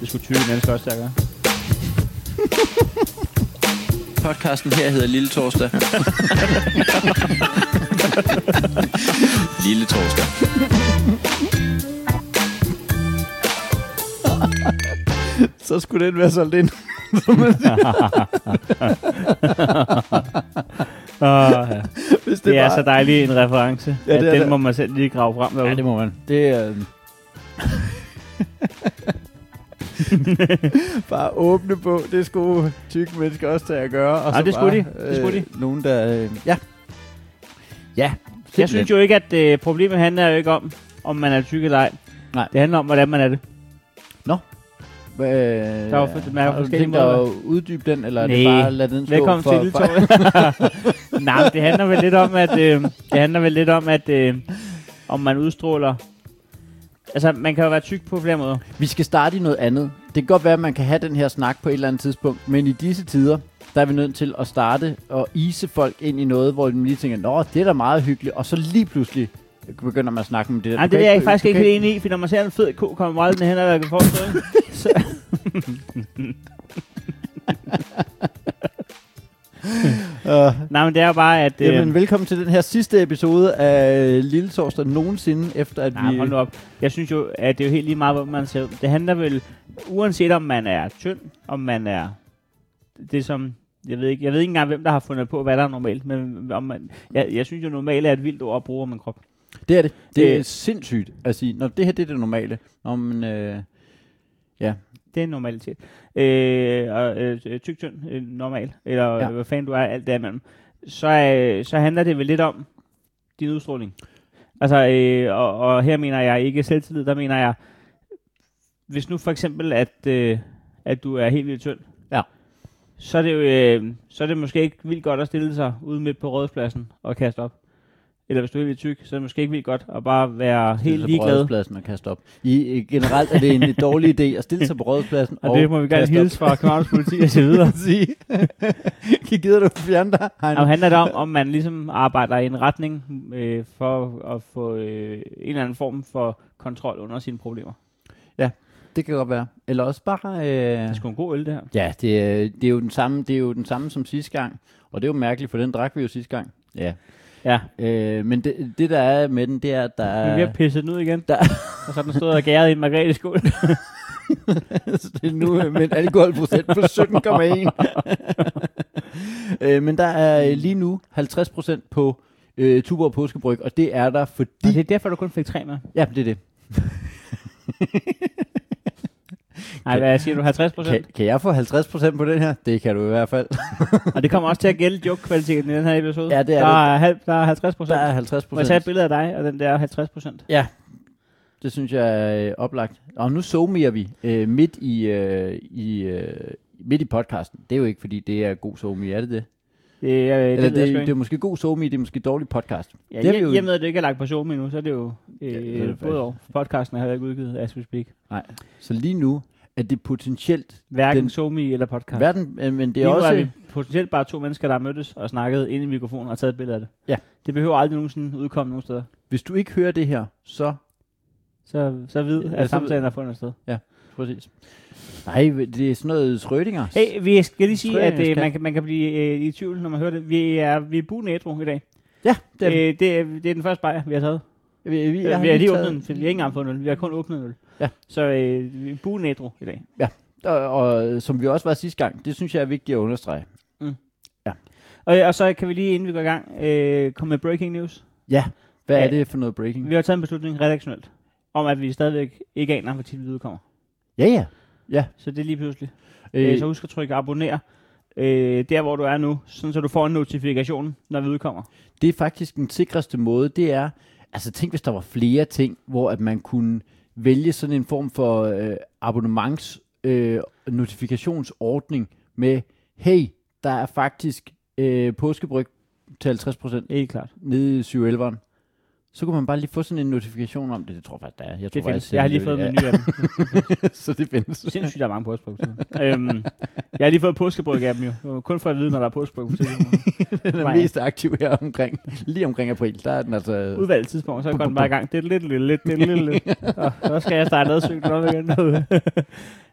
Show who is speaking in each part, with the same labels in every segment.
Speaker 1: Det skulle tydeligt mennesker også stærkere.
Speaker 2: Podcasten her hedder Lille Torsdag. Lille Torsdag.
Speaker 3: Så skulle den være solgt ind.
Speaker 1: Åh, ja.
Speaker 3: Hvis det,
Speaker 1: Det er
Speaker 3: var-
Speaker 1: så dejlig en reference, ja,
Speaker 3: Ja,
Speaker 1: det
Speaker 3: det
Speaker 1: at
Speaker 3: er
Speaker 1: den
Speaker 3: det.
Speaker 1: må man selv lige grave frem derude.
Speaker 3: Ja, det må man. Det er... øh, bare åbne på. Det skulle tykke mennesker også til at gøre. Og
Speaker 1: Ja,
Speaker 3: så
Speaker 1: det skulle
Speaker 3: bare,
Speaker 1: de. Det skulle
Speaker 3: øh, Nogen, der... Øh, ja. Ja.
Speaker 1: Jeg synes jo ikke, at øh, problemet handler jo ikke om, om man er tyk eller ej.
Speaker 3: Nej.
Speaker 1: Det handler om, hvordan man er det.
Speaker 3: Øh, der
Speaker 1: er jo for- der er jo
Speaker 3: har du
Speaker 1: forskellige
Speaker 3: tænkt dig at uddybe den, eller er det
Speaker 1: Næh.
Speaker 3: bare lade den stå
Speaker 1: Velkommen
Speaker 3: for...
Speaker 1: til Lille Torsdag. Nej, men det handler vel lidt om, at, øh, det handler vel lidt om, at øh, om man udstråler... Altså, man kan jo være tyk på flere måder.
Speaker 3: Vi skal starte i noget andet. Det kan godt være, at man kan have den her snak på et eller andet tidspunkt, men i disse tider, der er vi nødt til at starte og ise folk ind i noget, hvor de lige tænker, nå, det er da meget hyggeligt, og så lige pludselig begynder man at snakke om det der.
Speaker 1: Nej,
Speaker 3: Du kan
Speaker 1: det er jeg faktisk
Speaker 3: du
Speaker 1: ikke
Speaker 3: kan
Speaker 1: helt enig i, for når man ser en fed ko komme vrældende hen, og kan få så, så
Speaker 3: Øh,
Speaker 1: Nej, men det er jo bare, at... Øh,
Speaker 3: Jamen, velkommen til den her sidste episode af Lille Torsdag nogensinde, efter at
Speaker 1: nej,
Speaker 3: vi...
Speaker 1: hold nu op. Jeg synes jo, at det er jo helt lige meget, hvor man ser ud. Det handler vel, uanset om man er tynd, om man er... Det er som... Jeg ved, ikke, jeg ved ikke engang, hvem der har fundet på, hvad der er normalt. Men om man, jeg, jeg synes jo, normalt er et vildt ord at bruge om en krop.
Speaker 3: Det er det. Det er
Speaker 1: Øh.
Speaker 3: sindssygt at sige, når det her det er det normale. Nå, men, øh,
Speaker 1: Det er en normalitet. Øh, og øh, tyk, tynd, øh, normal, eller
Speaker 3: Ja.
Speaker 1: ja. hvad fanden du er, alt det imellem. Så, øh, så handler det vel lidt om din udstråling. Altså, øh, og, og her mener jeg ikke selvtillid, der mener jeg, hvis nu for eksempel, at, øh, at du er helt vildt tynd,
Speaker 3: Ja.
Speaker 1: så, er det jo, øh, så er det måske ikke vildt godt at stille sig ude midt på rådspladsen og kaste op. Eller hvis du er helt vildt tyk, så er det måske ikke vildt godt at bare være helt ligeglad.
Speaker 3: Pladsen og kaste op. I, øh, generelt er det en dårlig idé at stille sig på rådspladsen og,
Speaker 1: Og, det må vi gerne
Speaker 3: kaste op.
Speaker 1: hilse fra Københavns politi og så videre.
Speaker 3: sige. Gider du fjerne dig?
Speaker 1: Jamen, handler det om, om man ligesom arbejder i en retning øh, for at få øh, en eller anden form for kontrol under sine problemer.
Speaker 3: Det kan godt være. Eller også bare... Øh...
Speaker 1: Det er sgu en god øl, det her.
Speaker 3: Ja, det, er- det, er jo den samme, det er jo den samme som sidste gang. Og det er jo mærkeligt, for den drak vi jo sidste gang. Ja.
Speaker 1: Ja,
Speaker 3: Øh, men det, det, der er med den, det er, at der
Speaker 1: men vi
Speaker 3: er...
Speaker 1: har pisset den ud igen.
Speaker 3: Der-
Speaker 1: og så er den stået og gæret i en margrethe skål.
Speaker 3: Så det er nu øh, med en alkoholprocent på 17,1. øh, men der er øh, lige nu 50% på øh, Tuborg Påskebryg, og det er der,
Speaker 1: Og
Speaker 3: fordi...
Speaker 1: det er derfor, du kun fik tre med.
Speaker 3: Ja, det er det.
Speaker 1: Nej, hvad siger du? 50
Speaker 3: Kan,
Speaker 1: procent?
Speaker 3: kan jeg få 50% på den her? Det kan du i hvert fald.
Speaker 1: Og det kommer også til at gælde joke-kvaliteten i den her episode.
Speaker 3: Ja, det er
Speaker 1: der
Speaker 3: det.
Speaker 1: Er halv, der er 50 procent.
Speaker 3: Der er 50%.
Speaker 1: Må jeg tage et billede af dig og den der 50 procent?
Speaker 3: Det synes jeg er øh, oplagt. Og nu zoomer vi øh, midt i øh, i øh, midt i podcasten. Det er jo ikke fordi det er god zoomi, er det det?
Speaker 1: Det, er, øh, det,
Speaker 3: Eller
Speaker 1: ved jeg
Speaker 3: det,
Speaker 1: sgu
Speaker 3: det, det
Speaker 1: ikke.
Speaker 3: er måske god zoomi, det er måske dårlig podcast.
Speaker 1: Ja,
Speaker 3: det er vi jo-
Speaker 1: jeg, jeg med, at det ikke er lagt på show nu, så er det jo øh,
Speaker 3: Ja, det er det
Speaker 1: både over. Podcasten er heller ikke udgivet, as we speak.
Speaker 3: Så lige nu er det potentielt
Speaker 1: Hverken
Speaker 3: Den-
Speaker 1: den... Somi eller podcast.
Speaker 3: verden, øh, men det
Speaker 1: Lige
Speaker 3: er
Speaker 1: nu
Speaker 3: også
Speaker 1: er vi potentielt bare to mennesker, der har mødtes og snakket ind i mikrofonen og taget et billede af det.
Speaker 3: Ja.
Speaker 1: Det behøver aldrig nogensinde udkomme nogen steder.
Speaker 3: hvis du ikke hører det her, så
Speaker 1: Så, så vid,
Speaker 3: Ja,
Speaker 1: at
Speaker 3: så ved-
Speaker 1: samtalen er fundet sted.
Speaker 3: præcis. Nej, det er sådan noget Schrödinger.
Speaker 1: Hey, vi skal lige sige,
Speaker 3: Tror jeg,
Speaker 1: at
Speaker 3: jeg
Speaker 1: øh,
Speaker 3: skal.
Speaker 1: man, kan, man kan blive øh, i tvivl, når man hører det. Vi er, vi er buen ædru i dag.
Speaker 3: Ja, det
Speaker 1: Det
Speaker 3: er,
Speaker 1: er, øh, det, er, det er den første bajer, vi har taget.
Speaker 3: vi, vi, vi,
Speaker 1: Øh, Vi har, vi har lige åbnet den, for vi har ikke engang fået øl. Vi har kun åbnet en øl.
Speaker 3: Ja.
Speaker 1: Så øh, vi er buen ædru i dag.
Speaker 3: og, og, øh, som vi også var sidste gang, det synes jeg er vigtigt at understrege.
Speaker 1: Og, øh, og så kan vi lige, inden vi går i gang, øh, komme med breaking news.
Speaker 3: Hvad er
Speaker 1: Ja.
Speaker 3: det for noget breaking?
Speaker 1: Vi har taget en beslutning redaktionelt, om at vi stadigvæk ikke aner, hvor tit vi udkommer.
Speaker 3: Ja, ja.
Speaker 1: Så det er lige pludselig. Øh,
Speaker 3: Øh,
Speaker 1: så husk at trykke abonner øh, der, hvor du er nu, sådan så du får en notifikation, når vi udkommer.
Speaker 3: det er faktisk den sikreste måde, det er, altså tænk hvis der var flere ting, hvor at man kunne vælge sådan en form for øh, abonnements øh, notifikationsordning med, hey, der er faktisk øh, påskebryg til 50%
Speaker 1: Helt klart.
Speaker 3: nede i 711'eren. Så kunne man bare lige få sådan en notifikation om det. Det tror jeg faktisk, der er. Jeg, tror,
Speaker 1: Det findes.
Speaker 3: faktisk,
Speaker 1: Jeg har lige fået
Speaker 3: det-
Speaker 1: en menu af dem.
Speaker 3: ja, Så det findes.
Speaker 1: Sindssygt, der er mange påskebryg. øhm, jeg har lige fået påskebryg af dem jo. Det var Kun for at vide, når der er påskebryg. på telefonen.
Speaker 3: Den er
Speaker 1: Nej.
Speaker 3: mest aktiv her omkring. Lige omkring april. Der er den altså...
Speaker 1: Udvalgt tidspunkt, så går den bare i gang. Det er lidt, lidt, lidt, lidt, lidt, lidt. Og så skal jeg starte adsygt op igen.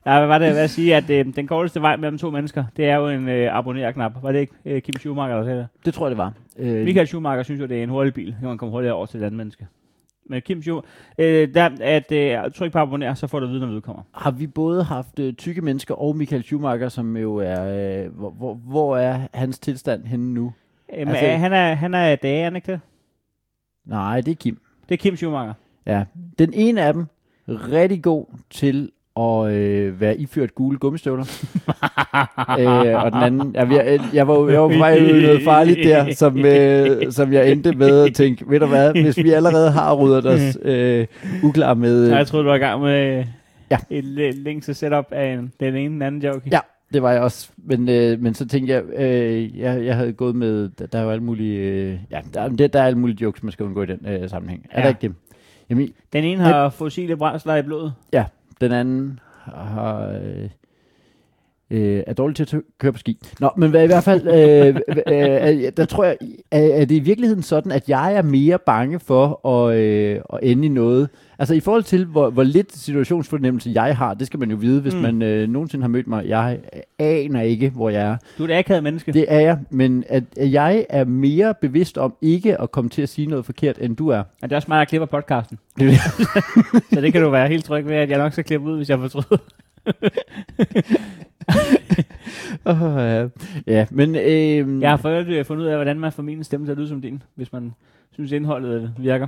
Speaker 1: Nej, hvad var det, jeg vil sige, at øh, den korteste vej mellem to mennesker, det er jo en øh, abonner-knap. Var det ikke øh, Kim Schumacher, der sagde det?
Speaker 3: Det tror jeg, det var. Øh,
Speaker 1: Michael Schumacher synes jo, det er en hurtig bil. Så kan man komme hurtigere over til et andet menneske. Men Kim Schumacher, øh, der, at øh, tryk på abonner, så får du at vide, når vi kommer.
Speaker 3: har vi både haft øh, tykke mennesker og Michael Schumacher, som jo er... Øh, hvor, hvor, hvor er hans tilstand henne nu?
Speaker 1: Øhm,
Speaker 3: Altså-
Speaker 1: altså, han er, han er dage, er han ikke det?
Speaker 3: Nej, det er Kim.
Speaker 1: Det er Kim Schumacher.
Speaker 3: Ja, den ene af dem rigtig god til at øh, være iført gule gummistøvler. øh, og den anden, ja, jeg, jeg, var, jo- jeg var på vej ud i noget farligt der, som, øh, som jeg endte med at tænke, ved du hvad, hvis vi allerede har ryddet os øh, uklar med...
Speaker 1: Nej, jeg troede, du var i gang med
Speaker 3: Ja.
Speaker 1: ja. et læ- længste setup af en, den ene den anden joke.
Speaker 3: Ja, det var jeg også. Men, øh, men så tænkte jeg, øh, jeg, jeg havde gået med, der, der er jo alle mulige, øh, ja, der, der, der er alle mulige jokes, man skal undgå i den øh, sammenhæng. Er
Speaker 1: Ja.
Speaker 3: der ikke det? Jamen,
Speaker 1: Den ene har fossile brændsler i blodet.
Speaker 3: ja, den anden har, øh, øh, er dårlig til at tø- køre på ski. Nå, men hvad, i hvert fald, øh, øh, øh, der tror jeg, er, er det i virkeligheden sådan, at jeg er mere bange for at, øh, at ende i noget. Altså i forhold til, hvor, hvor lidt situationsfornemmelse jeg har, det skal man jo vide, hvis mm.
Speaker 1: Mm.
Speaker 3: man øh, nogensinde har mødt mig. Jeg aner ikke, hvor jeg er.
Speaker 1: Du er et akavet menneske.
Speaker 3: Det er jeg, men at, at jeg er mere bevidst om ikke at komme til at sige noget forkert, end du er.
Speaker 1: Men det er også mig, der klipper podcasten.
Speaker 3: Det er det.
Speaker 1: så det kan du være helt tryg ved, at jeg nok skal klippe ud, hvis jeg fortryder.
Speaker 3: Oh, ja. ja, men øh,
Speaker 1: Jeg har for øvrigt, øh, fundet ud af, hvordan man får min stemme til at lyde som din, hvis man synes, indholdet øh, virker.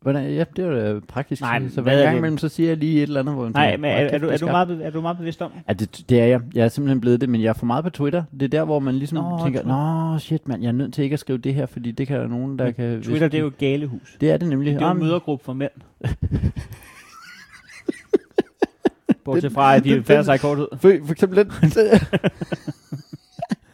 Speaker 3: hvordan, ja, det er jo da praktisk.
Speaker 1: Nej,
Speaker 3: så
Speaker 1: men
Speaker 3: hver
Speaker 1: hvad er
Speaker 3: gang
Speaker 1: det?
Speaker 3: imellem, så siger jeg lige et eller andet, hvor man
Speaker 1: Nej,
Speaker 3: tænker,
Speaker 1: men er,
Speaker 3: "Hold
Speaker 1: er,
Speaker 3: kæft,
Speaker 1: du,
Speaker 3: det
Speaker 1: er, du
Speaker 3: skarpt."
Speaker 1: meget, be- er du meget bevidst om?
Speaker 3: Ja, det, det er jeg. Jeg er simpelthen blevet det, men jeg er for meget på Twitter. Det er der, hvor man ligesom
Speaker 1: Nå,
Speaker 3: tænker,
Speaker 1: Twitter.
Speaker 3: nå shit mand, jeg er nødt til ikke at skrive det her, fordi det kan der nogen, der
Speaker 1: Men
Speaker 3: kan...
Speaker 1: Twitter, det er jo et galehus.
Speaker 3: Det er det nemlig.
Speaker 1: Det er jo en
Speaker 3: Jamen,
Speaker 1: mødergruppe for mænd. Bortset fra, at de
Speaker 3: den-
Speaker 1: færder sig i korthed.
Speaker 3: For, for eksempel den.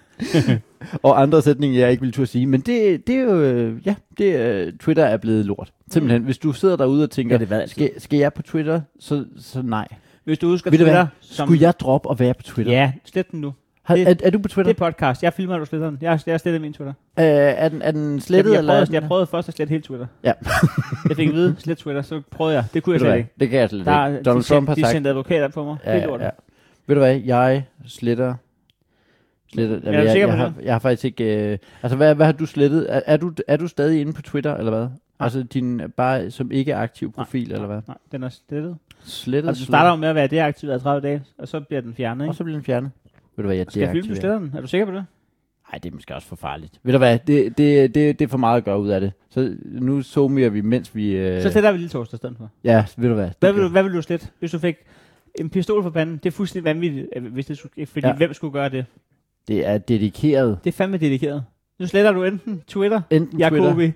Speaker 3: og andre sætninger, jeg ikke ville turde sige. Men det, det er jo... øh, Ja, det, er- Twitter er blevet lort. Simpelthen. Hvis du sidder derude og tænker,
Speaker 1: Mm. Ja, det var altid.
Speaker 3: skal, skal jeg på Twitter? Så, så nej.
Speaker 1: Hvis du husker
Speaker 3: Ved du hvad?
Speaker 1: Twitter, som...
Speaker 3: Skulle jeg droppe at være på Twitter?
Speaker 1: Ja, slet den nu.
Speaker 3: Har,
Speaker 1: det-
Speaker 3: er, er du på
Speaker 1: Det
Speaker 3: Twitter?
Speaker 1: er podcast. Jeg filmer, at du sletter den. Jeg har, jeg har slettet min Twitter.
Speaker 3: Øh, er, den, er den slettet?
Speaker 1: jeg, jeg,
Speaker 3: eller
Speaker 1: prøvede,
Speaker 3: er den-
Speaker 1: jeg prøvede først at slette hele Twitter.
Speaker 3: Ja.
Speaker 1: jeg fik at vide, slet Twitter, så prøvede jeg. Det kunne
Speaker 3: Ved
Speaker 1: jeg
Speaker 3: du
Speaker 1: slet
Speaker 3: hvad?
Speaker 1: ikke.
Speaker 3: Det kan jeg slet
Speaker 1: Der,
Speaker 3: ikke. Donald
Speaker 1: de,
Speaker 3: Trump har
Speaker 1: de
Speaker 3: sagt...
Speaker 1: sendte advokater på mig. Ja, det gjorde ja, ja.
Speaker 3: Ved du hvad? Jeg sletter... Sletter,
Speaker 1: er du
Speaker 3: jeg,
Speaker 1: sikker
Speaker 3: jeg,
Speaker 1: på
Speaker 3: har, jeg har faktisk ikke... Øh, altså, hvad, hvad har du slettet? Er, er, du, er du stadig inde på Twitter, eller hvad? Altså, din øh, bare som ikke aktiv profil, eller hvad?
Speaker 1: Nej, den er slettet.
Speaker 3: Slettet,
Speaker 1: Og den starter jo med at være deaktiveret i 30 dage, og så bliver den fjernet,
Speaker 3: slettet,
Speaker 1: ikke?
Speaker 3: og så bliver den fjernet. Ved du hvad, jeg
Speaker 1: Skal jeg filme, du
Speaker 3: deaktiverer.
Speaker 1: sletter den? Er du sikker på det?
Speaker 3: Nej, det er måske også for farligt. Ved du hvad, det, det, det, det er for meget at gøre ud af det. Så nu zoomer vi, mens vi... Øh,
Speaker 1: Så sletter vi lille torsdag i stedet for.
Speaker 3: ja, ved du hvad? det
Speaker 1: Hvad
Speaker 3: kan-
Speaker 1: vil, du, hvad vil du slette, hvis du fik en pistol for panden? Det er fuldstændig vanvittigt, øh, hvis det skulle, fordi
Speaker 3: Ja.
Speaker 1: ja. hvem skulle gøre det?
Speaker 3: Det er dedikeret.
Speaker 1: Det er fandme dedikeret. Nu sletter du enten Twitter,
Speaker 3: Enten Twitter
Speaker 1: Jacobi eller,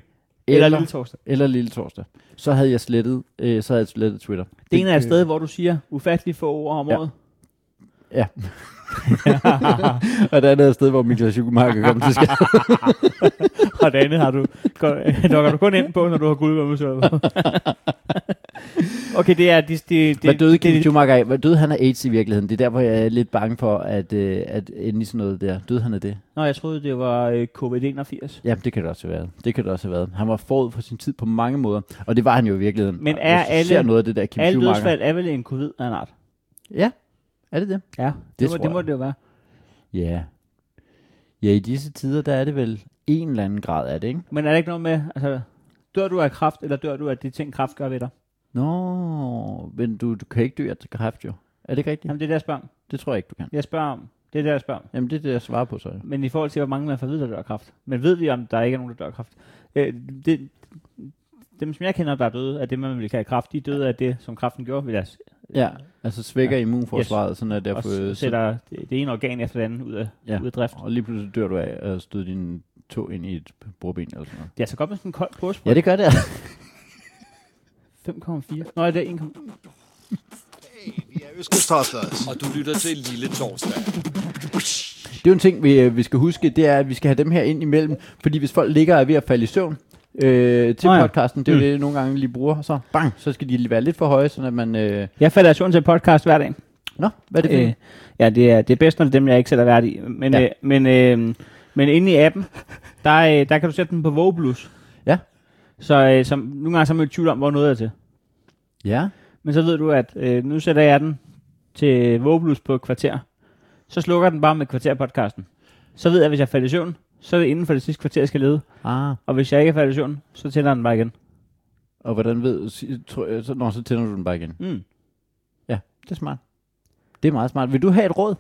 Speaker 3: eller,
Speaker 1: eller Lille Torsdag.
Speaker 3: eller Lille Torsdag. Så havde jeg slettet, øh, så havde jeg slettet Twitter.
Speaker 1: Det ene er et
Speaker 3: øh,
Speaker 1: sted, hvor du siger ufattelig få ord om
Speaker 3: Ja.
Speaker 1: året.
Speaker 3: Ja. og det andet er et sted, hvor Michael Schumacher kom til skade.
Speaker 1: Og det andet har du, lukker du kun ind på, når du har guldgummisøl på. okay, det er... De, de, de,
Speaker 3: Hvad døde Kim
Speaker 1: det,
Speaker 3: Schumacher af? Hvad døde han af AIDS i virkeligheden? Det er der, hvor jeg er lidt bange for, at, øh, at ende i sådan noget der. Døde han af det?
Speaker 1: Nå, jeg troede, det var øh, COVID-81.
Speaker 3: Jamen, det kan det også have været. Det kan det også have været. Han var forud for sin tid på mange måder, og det var han jo i virkeligheden.
Speaker 1: Men
Speaker 3: Og
Speaker 1: er
Speaker 3: Hvis du
Speaker 1: alle-
Speaker 3: ser noget af det der Kim
Speaker 1: Alle
Speaker 3: Schumacher.
Speaker 1: dødsfald er vel en covid af en art?
Speaker 3: Ja, er det det?
Speaker 1: Ja, det,
Speaker 3: det
Speaker 1: det, må,
Speaker 3: tror
Speaker 1: det må
Speaker 3: jeg.
Speaker 1: det jo være.
Speaker 3: Ja. Ja, i disse tider, der er det vel en eller anden grad af det, ikke?
Speaker 1: Men er der ikke noget med, altså, dør du af kraft, eller dør du af de ting, kraft gør ved dig?
Speaker 3: Nå, men du, du kan ikke dø af kræft, jo. Er det ikke rigtigt?
Speaker 1: Jamen, det er det, jeg spørger om.
Speaker 3: Det tror jeg ikke, du kan.
Speaker 1: Jeg spørger om. Det er det, jeg spørger om.
Speaker 3: Jamen, det er det, jeg svarer på, så.
Speaker 1: Men i forhold til, hvor mange man får at vide, der dør af kræft. Men ved vi, om der ikke er nogen, der dør af kræft? Øh, det, dem, som jeg kender, der er døde af det, man ville kalde kræft, de er døde af det, som kræften gjorde ved deres
Speaker 3: Ja, altså svækker ja. immunforsvaret, yes. sådan at
Speaker 1: og
Speaker 3: derfor...
Speaker 1: s- sætter det, det ene organ efter det andet ud af,
Speaker 3: Ja.
Speaker 1: ja. ud af drift.
Speaker 3: og lige pludselig dør du af at støde din tå ind i et bordben eller sådan noget.
Speaker 1: Det er altså godt med sådan en kold påsprøjt.
Speaker 3: Ja, det gør det. altså.
Speaker 1: 5,4. Nå, ja, det er 1,4.
Speaker 4: Vi er Østkysthofters.
Speaker 2: Og du lytter til Lille Torsdag.
Speaker 3: Det er jo en ting, vi, øh, vi skal huske, det er, at vi skal have dem her ind imellem, fordi hvis folk ligger og er ved at falde i søvn øh, til
Speaker 1: Nå ja.
Speaker 3: podcasten, det er jo det, jeg nogle gange lige bruger, så bang, så skal de lige være lidt for høje, sådan at man... Øh,
Speaker 1: Jeg falder i søvn til en podcast hver dag.
Speaker 3: nå, hvad er det for
Speaker 1: Øh,
Speaker 3: en?
Speaker 1: ja, det er, det er bedst, når det er dem, jeg ikke selv er vært i. Men,
Speaker 3: Ja.
Speaker 1: ja. øh, men, øh, men inde i appen, der, øh, der kan du sætte den på Vogelus.
Speaker 3: Ja.
Speaker 1: Så øh, som, nogle gange så er man i tvivl om, hvor noget er til.
Speaker 3: Ja,
Speaker 1: Men så ved du, at øh, nu sætter jeg den til Vågeblus på et kvarter, så slukker den bare med kvarterpodcasten. Så ved jeg, at hvis jeg falder i søvn, så er det inden for det sidste kvarter, jeg skal lede.
Speaker 3: Ah,
Speaker 1: Og hvis jeg ikke er faldet i søvn, så tænder den bare igen.
Speaker 3: og hvordan ved... si- tro- øh, Så, nå, så tænder du den bare igen.
Speaker 1: Mm.
Speaker 3: Det er smart. Det er meget smart. Vil du have et råd?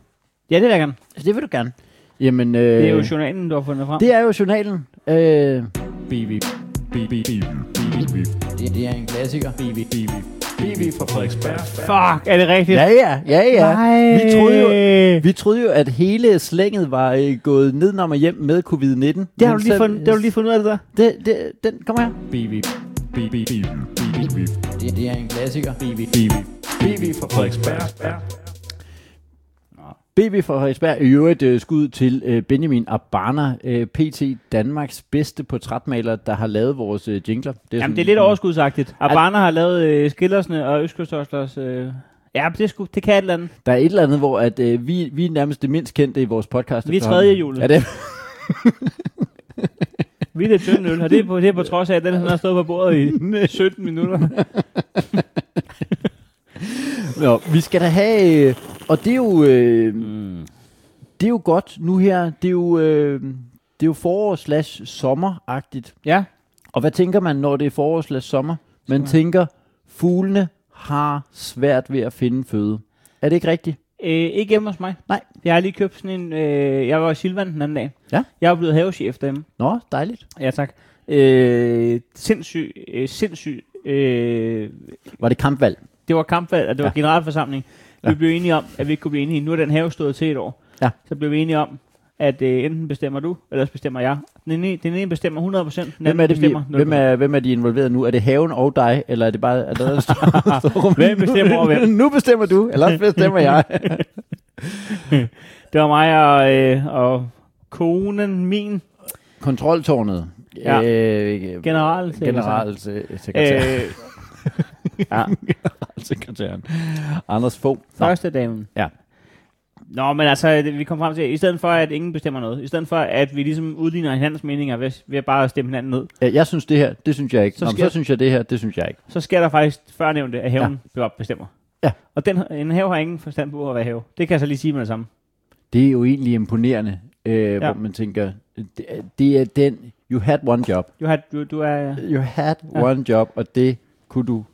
Speaker 1: Ja, det vil jeg gerne.
Speaker 3: Altså, Det vil du gerne. Jamen, øh,
Speaker 1: Det er jo journalen, du har fundet frem.
Speaker 3: det er jo journalen. Øh,
Speaker 5: BB. BB. BB.
Speaker 3: det, det er en klassiker.
Speaker 5: BB. BB. BB fra Frederiksberg.
Speaker 1: Fuck, er det rigtigt?
Speaker 3: Ja, ja, ja, ja.
Speaker 1: Nej.
Speaker 3: Vi troede jo, vi troede jo, at hele slænget var øh, gået nedenom og hjem med covid-19.
Speaker 1: Det har, du lige fundet, det har du lige fundet ud af det der.
Speaker 3: Det, det, den, kom her.
Speaker 5: BB. BB. BB.
Speaker 3: Det, det er en klassiker. BB.
Speaker 5: BB. BB fra Frederiksberg.
Speaker 3: BB fra Højsberg. I øvrigt øh, skud til øh, Benjamin Abana, øh, PT Danmarks bedste portrætmaler, der har lavet vores øh, jingler. Det er,
Speaker 1: Jamen, det er lidt overskudsagtigt. Abana har lavet øh, Skillersne og Østkystoslers... Øh, ja, det, er sgu, det kan et eller andet.
Speaker 3: Der er et eller andet, hvor at, øh, vi, vi er nærmest det mindst kendte i vores podcast.
Speaker 1: Vi er
Speaker 3: efterhånden.
Speaker 1: tredje hjulet.
Speaker 3: Er det?
Speaker 1: Vi er det tynde øl, og det er, på, det er på trods af, at den har stået på bordet i 17 minutter.
Speaker 3: Nå, vi skal da have... Øh, og det er jo... Øh,
Speaker 1: Mm.
Speaker 3: det er jo godt nu her. Det er jo, øh, det er jo forår slash sommeragtigt.
Speaker 1: Ja,
Speaker 3: Og hvad tænker man, når det er forår slash sommer? Man tænker, fuglene har svært ved at finde føde. Er det ikke rigtigt?
Speaker 1: øh, ikke hjemme hos mig.
Speaker 3: Nej.
Speaker 1: Jeg har lige købt sådan en... Øh, jeg var i Silvan den anden dag.
Speaker 3: Ja.
Speaker 1: Jeg er blevet havechef derhjemme.
Speaker 3: Nå, dejligt.
Speaker 1: Ja, tak. Øh, sindssyg, øh, sindssyg øh,
Speaker 3: Var det kampvalg?
Speaker 1: Det var kampvalg, og det var
Speaker 3: Ja.
Speaker 1: ja. generalforsamling. Vi
Speaker 3: Ja.
Speaker 1: blev enige om, at vi ikke kunne blive enige. Nu er den have stået til et år.
Speaker 3: Ja.
Speaker 1: Så blev vi enige om, at øh, enten bestemmer du, eller så bestemmer jeg. Den ene, den ene bestemmer 100 procent, den
Speaker 3: Hvem
Speaker 1: anden
Speaker 3: er, det, vi,
Speaker 1: bestemmer 0%.
Speaker 3: hvem, er, hvem er de involveret nu? Er det haven og dig, eller er det bare... Er der, står,
Speaker 1: Hvem bestemmer over hvem?
Speaker 3: Nu bestemmer du, eller også bestemmer jeg.
Speaker 1: Det var mig og, øh, og konen, min
Speaker 3: Kontroltårnet.
Speaker 1: Ja.
Speaker 3: Øh,
Speaker 1: general.
Speaker 3: Generalsekretæren. Øh.
Speaker 1: Øh, ja,
Speaker 3: Generalsekretæren. Anders Fogh. Nå.
Speaker 1: første damen.
Speaker 3: Ja.
Speaker 1: Nå, men altså, det- vi kom frem til, at i stedet for, at ingen bestemmer noget, i stedet for, at vi ligesom udligner hinandens meninger ved, ved bare at stemme hinanden ned,
Speaker 3: Øh, Jeg synes det her, det synes jeg ikke.
Speaker 1: Så
Speaker 3: Så, Nå, men
Speaker 1: skal-
Speaker 3: så synes jeg det her, det synes jeg ikke.
Speaker 1: så sker der faktisk førnævnte, at haven ja. bestemmer.
Speaker 3: Ja.
Speaker 1: Og den, en have har ingen forstand på at være have. Det kan jeg så lige sige med det samme.
Speaker 3: Det er jo egentlig imponerende, øh, ja. hvor man tænker, det, er- det er den, you had one job.
Speaker 1: Du, har, du, du er...
Speaker 3: You had
Speaker 1: Ja.
Speaker 3: ja. one job, og det kunne du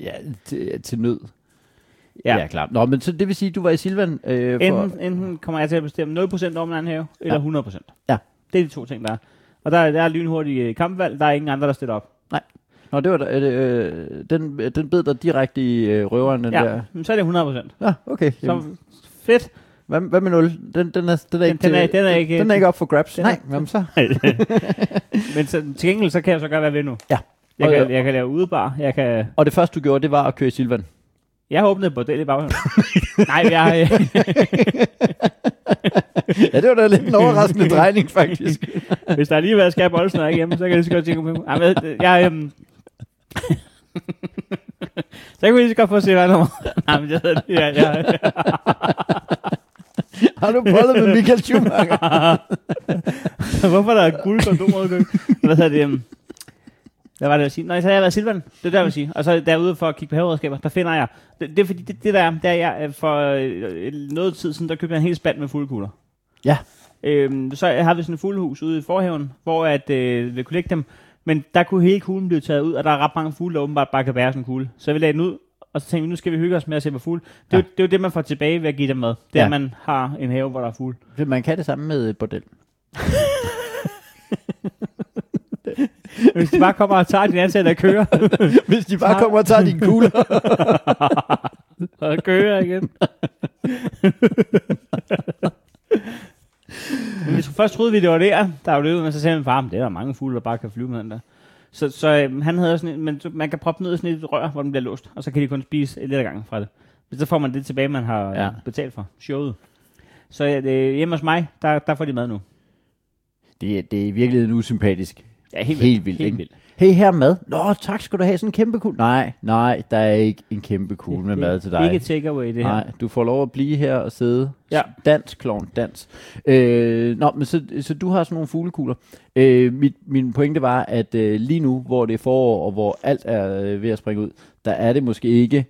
Speaker 3: ja, til, til nød.
Speaker 1: Ja.
Speaker 3: ja, klart. Nå, men så det vil sige, du var i Silvan øh, for...
Speaker 1: Enten, enten kommer jeg til at bestemme 0% over min anden have, eller 100%.
Speaker 3: Ja.
Speaker 1: Det er de to ting, der er. Og der, er- der er lynhurtige kampvalg, der er ingen andre, der stiller op.
Speaker 3: Nå, det var der, øh, den, den bed dig direkte i øh, røveren, den
Speaker 1: ja,
Speaker 3: der.
Speaker 1: men så er det 100%.
Speaker 3: Ja, okay. Jamen,
Speaker 1: Så fedt.
Speaker 3: hvad, hvad med nul? Den, den, er, den, er, ikke,
Speaker 1: den er-
Speaker 3: til-
Speaker 1: den er ikke-
Speaker 3: den er ikke op for grabs.
Speaker 1: den er-
Speaker 3: Nej, jamen så.
Speaker 1: Men så, til gengæld, så kan jeg så godt være ved nu.
Speaker 3: Ja.
Speaker 1: Jeg
Speaker 3: Og-
Speaker 1: kan, jeg kan lave udebar. Jeg, kan,
Speaker 3: Og det første, du gjorde, det var at køre i Silvan.
Speaker 1: jeg har åbnet et bordel i baghånden. Nej, jeg, øh,
Speaker 3: Ja, det var da lidt en overraskende drejning, faktisk.
Speaker 1: hvis der alligevel skal bolden og ikke hjemme, så kan jeg lige så godt tænke på mig. Jeg, jeg, jeg øhm, så kan vi lige så godt få CVR-nummer. Nej, men jeg, jeg, jeg, jeg,
Speaker 3: Har du prøvet med Michael Schumacher?
Speaker 1: Hvorfor er der guld kondomer i køkkenet? Hvad hedder det? øhm, Hvad var det, jeg sige? Nej, så har jeg været i Silvan. Det er der, jeg vil sige. Og så derude for at kigge på haveredskaber, der finder jeg. Det, det er fordi, det, det der, er, der er jeg øh, for øh, noget tid siden, der købte jeg en hel spand med fuglekugler.
Speaker 3: Ja.
Speaker 1: Øhm, så har vi sådan et fuglehus ude i forhaven, hvor at, øh, vi kunne lægge dem. Men der kunne hele kuglen blive taget ud, og der er ret mange fugle, der åbenbart bare kan bære sådan en kugle. Så vi lagde den ud, og så tænkte vi, nu skal vi hygge os med at se på fugle. Det, ja.
Speaker 3: Ja.
Speaker 1: det er jo det, man får tilbage ved at give dem mad. Det er,
Speaker 3: Ja.
Speaker 1: at man har en have, hvor der er fugle.
Speaker 3: Man kan det samme med et bordel.
Speaker 1: Hvis de bare kommer og tager din ansatte og kører,
Speaker 3: Hvis de bare kommer og tager dine kugler.
Speaker 1: og kører igen. men vi tro- først troede vi, det var der, der var løbet, men så sagde min far, "Men det er der mange fugle, der bare kan flyve med den der. Så, så øhm, han havde sådan en, men så- man kan proppe den ned i sådan et rør, hvor den bliver låst, og så kan de kun spise lidt ad gangen fra det. Men så får man det tilbage, man har ja.
Speaker 3: Ja.
Speaker 1: betalt for, showet. Så øh, hjemme hos mig, der, der får de mad nu.
Speaker 3: Det, er- det er virkelig en usympatisk.
Speaker 1: Ja,
Speaker 3: Helt vildt,
Speaker 1: Helt
Speaker 3: ikke?
Speaker 1: vildt.
Speaker 3: Hey, her er mad. Nå, tak skal du have. Sådan en kæmpe kugle. Nej, nej, der er ikke en kæmpe kugle med
Speaker 1: Det-
Speaker 3: mad til
Speaker 1: det er
Speaker 3: dig.
Speaker 1: Ikke et takeaway, det her.
Speaker 3: Nej, du får lov at blive her og sidde.
Speaker 1: Ja.
Speaker 3: Dans, klovn, dans. Øh, nå, men så, så du har sådan nogle fuglekugler. Øh, mit, min pointe var, at øh, lige nu, hvor det er forår, og hvor alt er øh, ved at springe ud, der er det måske ikke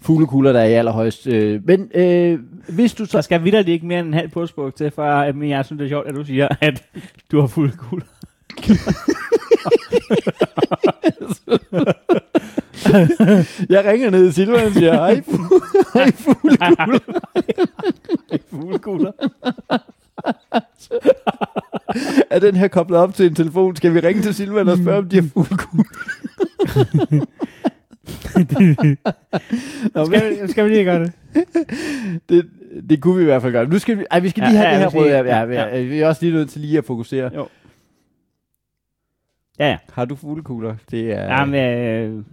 Speaker 3: fuglekugler, der er i allerhøjst. Øh, men øh, hvis du
Speaker 1: Der
Speaker 3: så...
Speaker 1: skal vidderligt ikke mere end en halv påsbog til, for at men jeg synes, det er sjovt, at du siger, at du har fuld guld.
Speaker 3: Jeg ringer ned til Silvan og siger, hej, fu- hej fuglekugler.
Speaker 1: Fuglekugler.
Speaker 3: Er den her koblet op til en telefon? Skal vi ringe til Silvan og spørge, om de har fuglekugler? Nå, men-
Speaker 1: skal, vi, skal vi lige gøre det?
Speaker 3: Det, det kunne vi i hvert fald gøre. Nu skal vi, ej, vi skal
Speaker 1: Ja,
Speaker 3: lige have
Speaker 1: ja,
Speaker 3: det her
Speaker 1: vi skal
Speaker 3: røde. Ja,
Speaker 1: lige-
Speaker 3: ja, ja, Vi er også lige nødt til lige at fokusere.
Speaker 1: Jo. Ja, ja.
Speaker 3: Har du fuglekugler? Det er...
Speaker 1: Jamen, øh,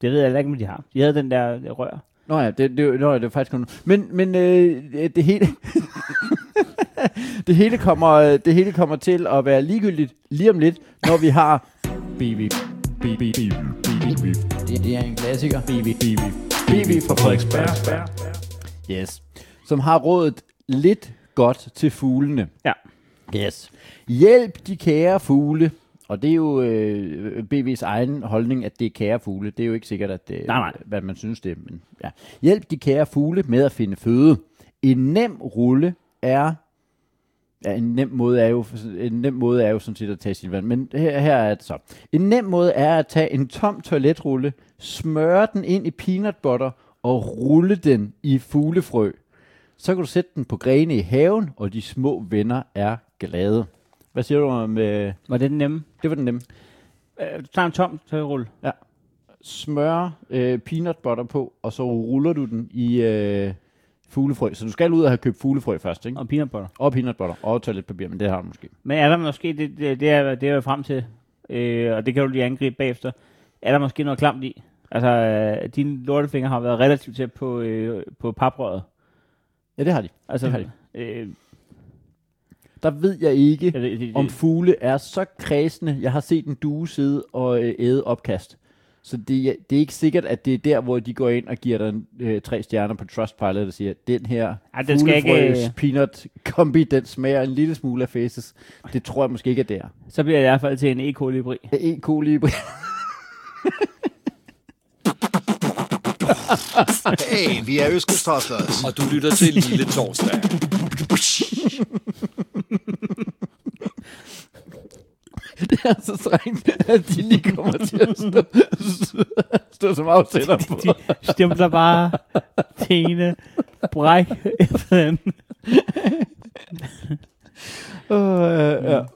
Speaker 1: det ved jeg heller ikke, om de har. De havde den der øh, rør.
Speaker 3: Nå ja, det, det, nå, ja, det er faktisk kun... Men, men øh, det hele... det, hele kommer, det hele kommer til at være ligegyldigt lige om lidt, når vi har...
Speaker 5: BB BB BB
Speaker 3: Det, det er en klassiker.
Speaker 5: BB BB BB fra Frederiksberg.
Speaker 3: Yes. Som har rådet lidt godt til fuglene.
Speaker 1: Ja.
Speaker 3: Yes. Hjælp de kære fugle. Og det er jo øh, BV's egen holdning, at det er kære fugle. Det er jo ikke sikkert, at det,
Speaker 1: Nej, nej.
Speaker 3: hvad man synes det er, men ja. Hjælp de kære fugle med at finde føde. En nem rulle er... Ja, en nem måde er jo, en nem måde er jo sådan set at tage Silvan, men her, her er det så. En nem måde er at tage en tom toiletrulle, smøre den ind i peanut butter og rulle den i fuglefrø. Så kan du sætte den på grene i haven, og de små venner er glade. Hvad siger du om... Øh,
Speaker 1: Var det den nemme?
Speaker 3: det var den nemme.
Speaker 1: Øh, du tager en tom tøjrulle.
Speaker 3: Smør øh, peanut butter på, og så ruller du den i øh, fuglefrø. Så du skal ud og have købt fuglefrø først, ikke?
Speaker 1: Og peanut butter.
Speaker 3: Og peanut butter, og toiletpapir, men det har du måske.
Speaker 1: Men er der måske, det, det, det, er, det er jeg frem til, øh, og det kan du lige angribe bagefter, er der måske noget klamt i? Altså, øh, dine lortefinger har været relativt tæt på, øh, på paprøret.
Speaker 3: Ja, det har de.
Speaker 1: Altså,
Speaker 3: Det har de.
Speaker 1: øh,
Speaker 3: Der ved jeg ikke,
Speaker 1: jeg ved, det,
Speaker 3: om
Speaker 1: det,
Speaker 3: fugle er så kredsende. Jeg har set en due sidde og øh, æde opkast. Så det, er- det er ikke sikkert, at det er der, hvor de går ind og giver dig en, øh, tre stjerner på Trustpilot og siger, den her
Speaker 1: Ej, den skal ikke,
Speaker 3: fuglefrøs
Speaker 1: øh."
Speaker 3: peanut kombi, den smager en lille smule af faces. Det tror jeg måske ikke er der.
Speaker 1: så bliver jeg i hvert fald til en E. colibri.
Speaker 3: En kolibri.
Speaker 4: Hey, vi er Østkystrastlers.
Speaker 2: Og du lytter til Lille Torsdag.
Speaker 3: Det er så strengt, at de lige kommer til at stå, stå som afsætter på.
Speaker 1: De stempler bare tingene bræk efter den.
Speaker 3: Øh, ja.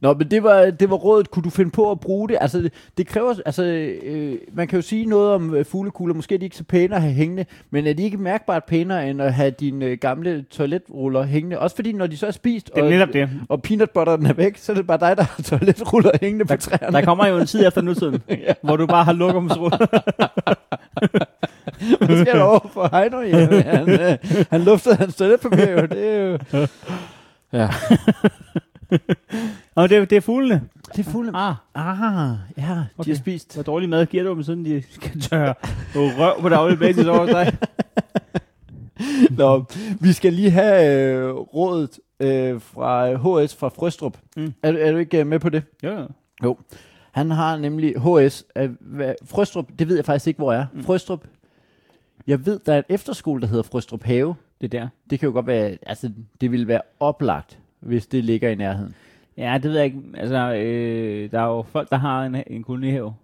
Speaker 3: Nå, men det var, det var rådet. Kunne du finde på at bruge det? Altså, det, det kræver... Altså, øh, man kan jo sige noget om øh, fuglekugler. Måske er de ikke så pæne at have hængende, men er de ikke mærkbart pænere, end at have dine øh, gamle toiletruller hængende? Også fordi, når de så er spist,
Speaker 1: Det er
Speaker 3: og,
Speaker 1: netop det.
Speaker 3: og peanut butteren er væk, så er det bare dig, der har toiletruller hængende på træerne.
Speaker 1: Der kommer jo en tid efter nutiden, ja. hvor du bare har lokumsruller.
Speaker 3: Hvad sker der over for Heino? Jamen, han, øh, han luftede hans toiletpapir, jo. Det er jo...
Speaker 1: Og det, er- det er fuglene.
Speaker 3: Det er fugle...
Speaker 1: Ah,
Speaker 3: Ah, ja, okay. de
Speaker 1: Okay.
Speaker 3: har spist.
Speaker 1: hvor dårlig mad giver du dem, siden de skal tørre røv på daglig basis over dig.
Speaker 3: Nå, vi skal lige have øh, rådet øh, fra HS fra Frøstrup. Mm.
Speaker 1: Mm.
Speaker 3: Er, du- er du ikke øh, med på det?
Speaker 1: Jo, jo.
Speaker 3: Han har nemlig HS. Øh, hvad, Frøstrup, det ved jeg faktisk ikke, hvor er. Mm. Frøstrup. Jeg ved, der er en efterskole, der hedder Frøstrup Have.
Speaker 1: Det er der.
Speaker 3: Det kan jo godt være, altså det ville være oplagt, hvis det ligger i nærheden.
Speaker 1: Ja, det ved jeg ikke. Altså, øh, der er jo folk, der har en, en kolonihave.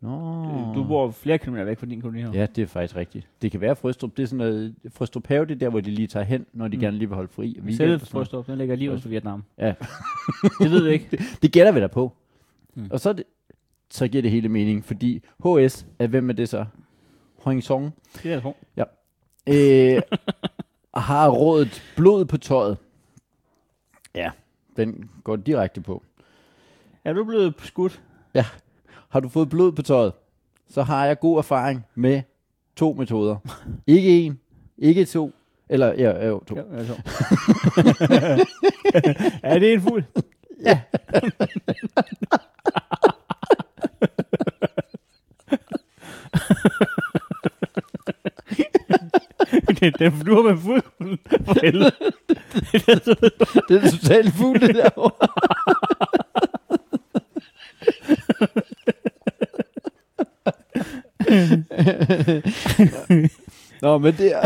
Speaker 3: Nå.
Speaker 1: Oh. Du bor flere kilometer væk fra din kolonihave.
Speaker 3: Ja, det er faktisk rigtigt. Det kan være Frøstrup. Det er sådan noget, Frøstrup Have, det er der, hvor de lige tager hen, når de mm. gerne lige vil holde fri. og
Speaker 1: Yeah.
Speaker 3: weekend
Speaker 1: Selve
Speaker 3: og sådan noget.
Speaker 1: Frøstrup, den ligger lige ud for Vietnam.
Speaker 3: Ja.
Speaker 1: det ved vi ikke.
Speaker 3: Det gætter vi da på. Mm.
Speaker 1: Mm.
Speaker 3: Og så, er det, så giver det hele mening, fordi HS, er, hvem er det så? Hong Song.
Speaker 1: Det er jeg tro.
Speaker 3: Øh, har rådet blod på tøjet. Ja, den går direkte på.
Speaker 1: Er du blevet skudt?
Speaker 3: Ja, har du fået blod på tøjet, så har jeg god erfaring med to metoder. Ikke en, ikke to, eller ja, jo, to.
Speaker 1: Ja, jeg tror. er det en fugl? Ja. den flyver med fuglen. For helvede.
Speaker 3: Det er totalt fugl, det derovre. Nå, men det er,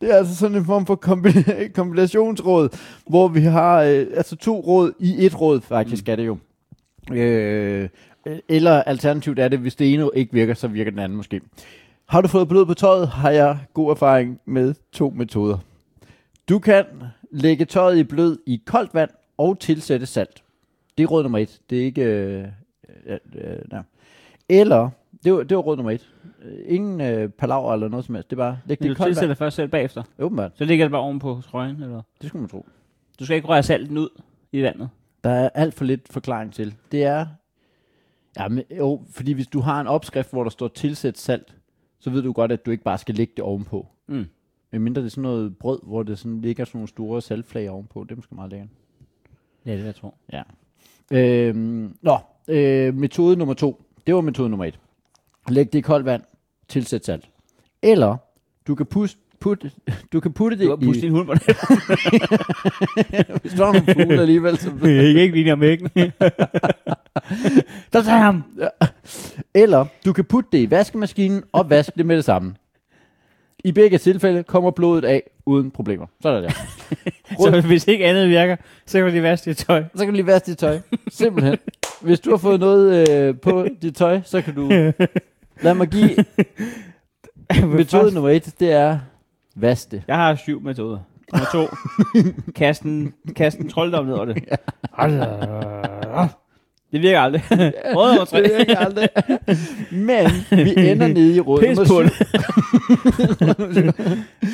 Speaker 3: det er altså sådan en form for kombi- kombinationsråd, hvor vi har øh, altså to råd i et råd, faktisk mm. er det jo. Øh, eller alternativt er det, hvis det ene ikke virker, så virker den anden måske. Har du fået blod på tøjet, har jeg god erfaring med to metoder. Du kan lægge tøjet i blød i koldt vand og tilsætte salt. Det er råd nummer et. Det er ikke... Øh, øh, øh, nej. Eller, det var, det var råd nummer et. Øh, Ingen øh, palaver eller noget som helst. Det er bare, læg det i
Speaker 1: Du
Speaker 3: koldt vand.
Speaker 1: tilsætter først selv bagefter.
Speaker 3: Åbenbart.
Speaker 1: Så ligger det bare ovenpå strøgen, eller hvad?
Speaker 3: Det skulle man tro.
Speaker 1: Du skal ikke røre salten ud i vandet.
Speaker 3: Der er alt for lidt forklaring til. Det er... Ja, men, jo, fordi hvis du har en opskrift, hvor der står tilsæt salt, så ved du godt, at du ikke bare skal lægge det ovenpå.
Speaker 1: Mm.
Speaker 3: Men mindre det er sådan noget brød, hvor det sådan ligger sådan nogle store saltflager ovenpå. Det er måske meget lækkert.
Speaker 1: Ja, det er jeg tror.
Speaker 3: Ja. Øhm, nå, øh, metode nummer to. Det var metode nummer et. Læg det i koldt vand. Tilsæt salt. Eller du kan puste, putte, du kan putte det
Speaker 1: Du har pustet
Speaker 3: i...
Speaker 1: din hund på det.
Speaker 3: Hvis der er nogle fugle alligevel, så
Speaker 1: Jeg kan ikke lige om æggen. Der tager jeg ham.
Speaker 3: Eller du kan putte det i vaskemaskinen og vaske det med det samme. I begge tilfælde kommer blodet af uden problemer. Sådan der.
Speaker 1: Så hvis ikke andet virker, så kan det være det tøj.
Speaker 3: Så kan du lige vaske dit tøj. Simpelthen. Hvis du har fået noget øh, på dit tøj, så kan du... Lad mig give metode nummer et. Det er vask det.
Speaker 1: Jeg har syv metoder. Nummer to. kast en, kast en trolddom ned over det. det virker aldrig. Råd nummer tre.
Speaker 3: Det virker aldrig. Men vi ender nede i råd
Speaker 1: Pis
Speaker 3: nummer
Speaker 1: på det.
Speaker 3: 7.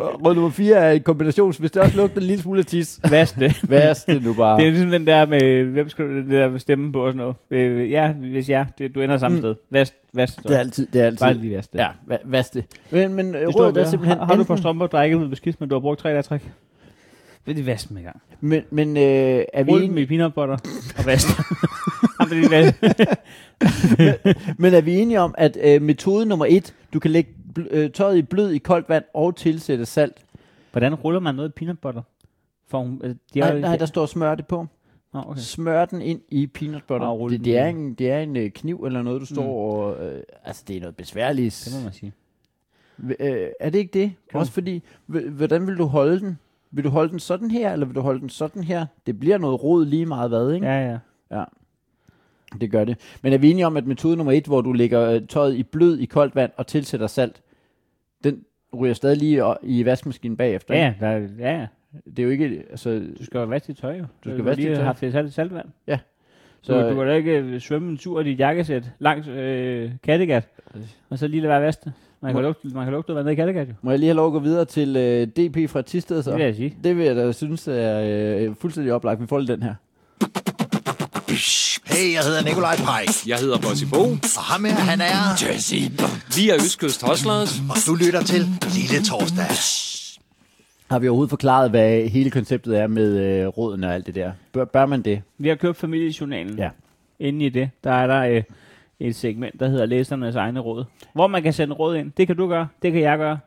Speaker 3: Råd nummer 4 er en kombination. Hvis det også lugter en lille smule af tis,
Speaker 1: Vask det.
Speaker 3: vask det nu bare.
Speaker 1: Det er ligesom den der med, hvem skal du det der med stemme på og sådan noget. Øh, ja, hvis ja, det, du ender samme
Speaker 3: Mm.
Speaker 1: sted. Vask, vask det.
Speaker 3: Det er altid, det er altid.
Speaker 1: Bare lige vask det.
Speaker 3: Ja, va- vask det. Men, men øh,
Speaker 1: Hvis
Speaker 3: rådet
Speaker 1: du
Speaker 3: er
Speaker 1: har,
Speaker 3: simpelthen...
Speaker 1: har, har du på
Speaker 3: enten-
Speaker 1: strømper drækket ud beskidt, men du har brugt tre der træk? Vil de vaske dem i gang?
Speaker 3: Men, men øh, er vi
Speaker 1: Rul dem
Speaker 3: enige,
Speaker 1: i peanut butter og vask dem. Jamen, det er vask.
Speaker 3: men er vi enige om, at øh, metode nummer et, du kan lægge bl- øh, tøjet i blød i koldt vand og tilsætte salt.
Speaker 1: Hvordan ruller man noget i peanut butter? For hun, øh, de har,
Speaker 3: Nej, nej, der står smør det på.
Speaker 1: Nå, okay.
Speaker 3: Smør den ind i peanut butter.
Speaker 1: Og rul
Speaker 3: det,
Speaker 1: den
Speaker 3: det, er
Speaker 1: ind.
Speaker 3: en, det er en øh, kniv eller noget, du står
Speaker 1: Mm.
Speaker 3: og... Øh, altså, det er noget besværligt.
Speaker 1: Det må man sige.
Speaker 3: Øh, er det ikke det?
Speaker 1: Jo.
Speaker 3: Også fordi, h- hvordan vil du holde den? Vil du holde den sådan her, eller vil du holde den sådan her? Det bliver noget rod lige meget hvad, ikke?
Speaker 1: Ja, ja.
Speaker 3: Det gør det. Men er vi enige om, at metode nummer et, hvor du lægger øh, tøjet i blød i koldt vand og tilsætter salt, den ryger stadig lige o- i vaskemaskinen bagefter.
Speaker 1: Ja,
Speaker 3: ikke?
Speaker 1: ja, der, er- ja, ja.
Speaker 3: Det er jo ikke... Altså,
Speaker 1: Du skal jo vaske dit tøj, jo.
Speaker 3: skal vaske dit
Speaker 1: lige
Speaker 3: tøj.
Speaker 1: har haft det salt, saltvand.
Speaker 3: Ja.
Speaker 1: Så
Speaker 3: Så-
Speaker 1: du, du kan da ikke øh, svømme en tur i dit jakkesæt langs øh, Kattegat, og så lige lade være vaske det. Man kan
Speaker 3: Må-
Speaker 1: lugte, man kan lugte vandet i Kattegat, jo.
Speaker 3: må jeg lige have lov at gå videre til øh, DP fra Tisted så?
Speaker 1: Det vil jeg sige.
Speaker 3: Det vil jeg da synes er øh, fuldstændig oplagt. Vi får lige den her.
Speaker 4: Hey, jeg hedder Nikolaj Pej.
Speaker 2: Jeg hedder Bossy Bo.
Speaker 4: Og ham her, han er...
Speaker 2: Vi er Østkyst Hoslers.
Speaker 4: Og du lytter til Lille Torsdag.
Speaker 3: Har vi overhovedet forklaret, hvad hele konceptet er med øh, råden og alt det der? Bør, bør man det?
Speaker 1: Vi har købt familiejournalen.
Speaker 3: Ja.
Speaker 1: Inde i det, der er der øh, et segment, der hedder Læsernes egne råd. Hvor man kan sende råd ind. Det kan du gøre, det kan jeg gøre,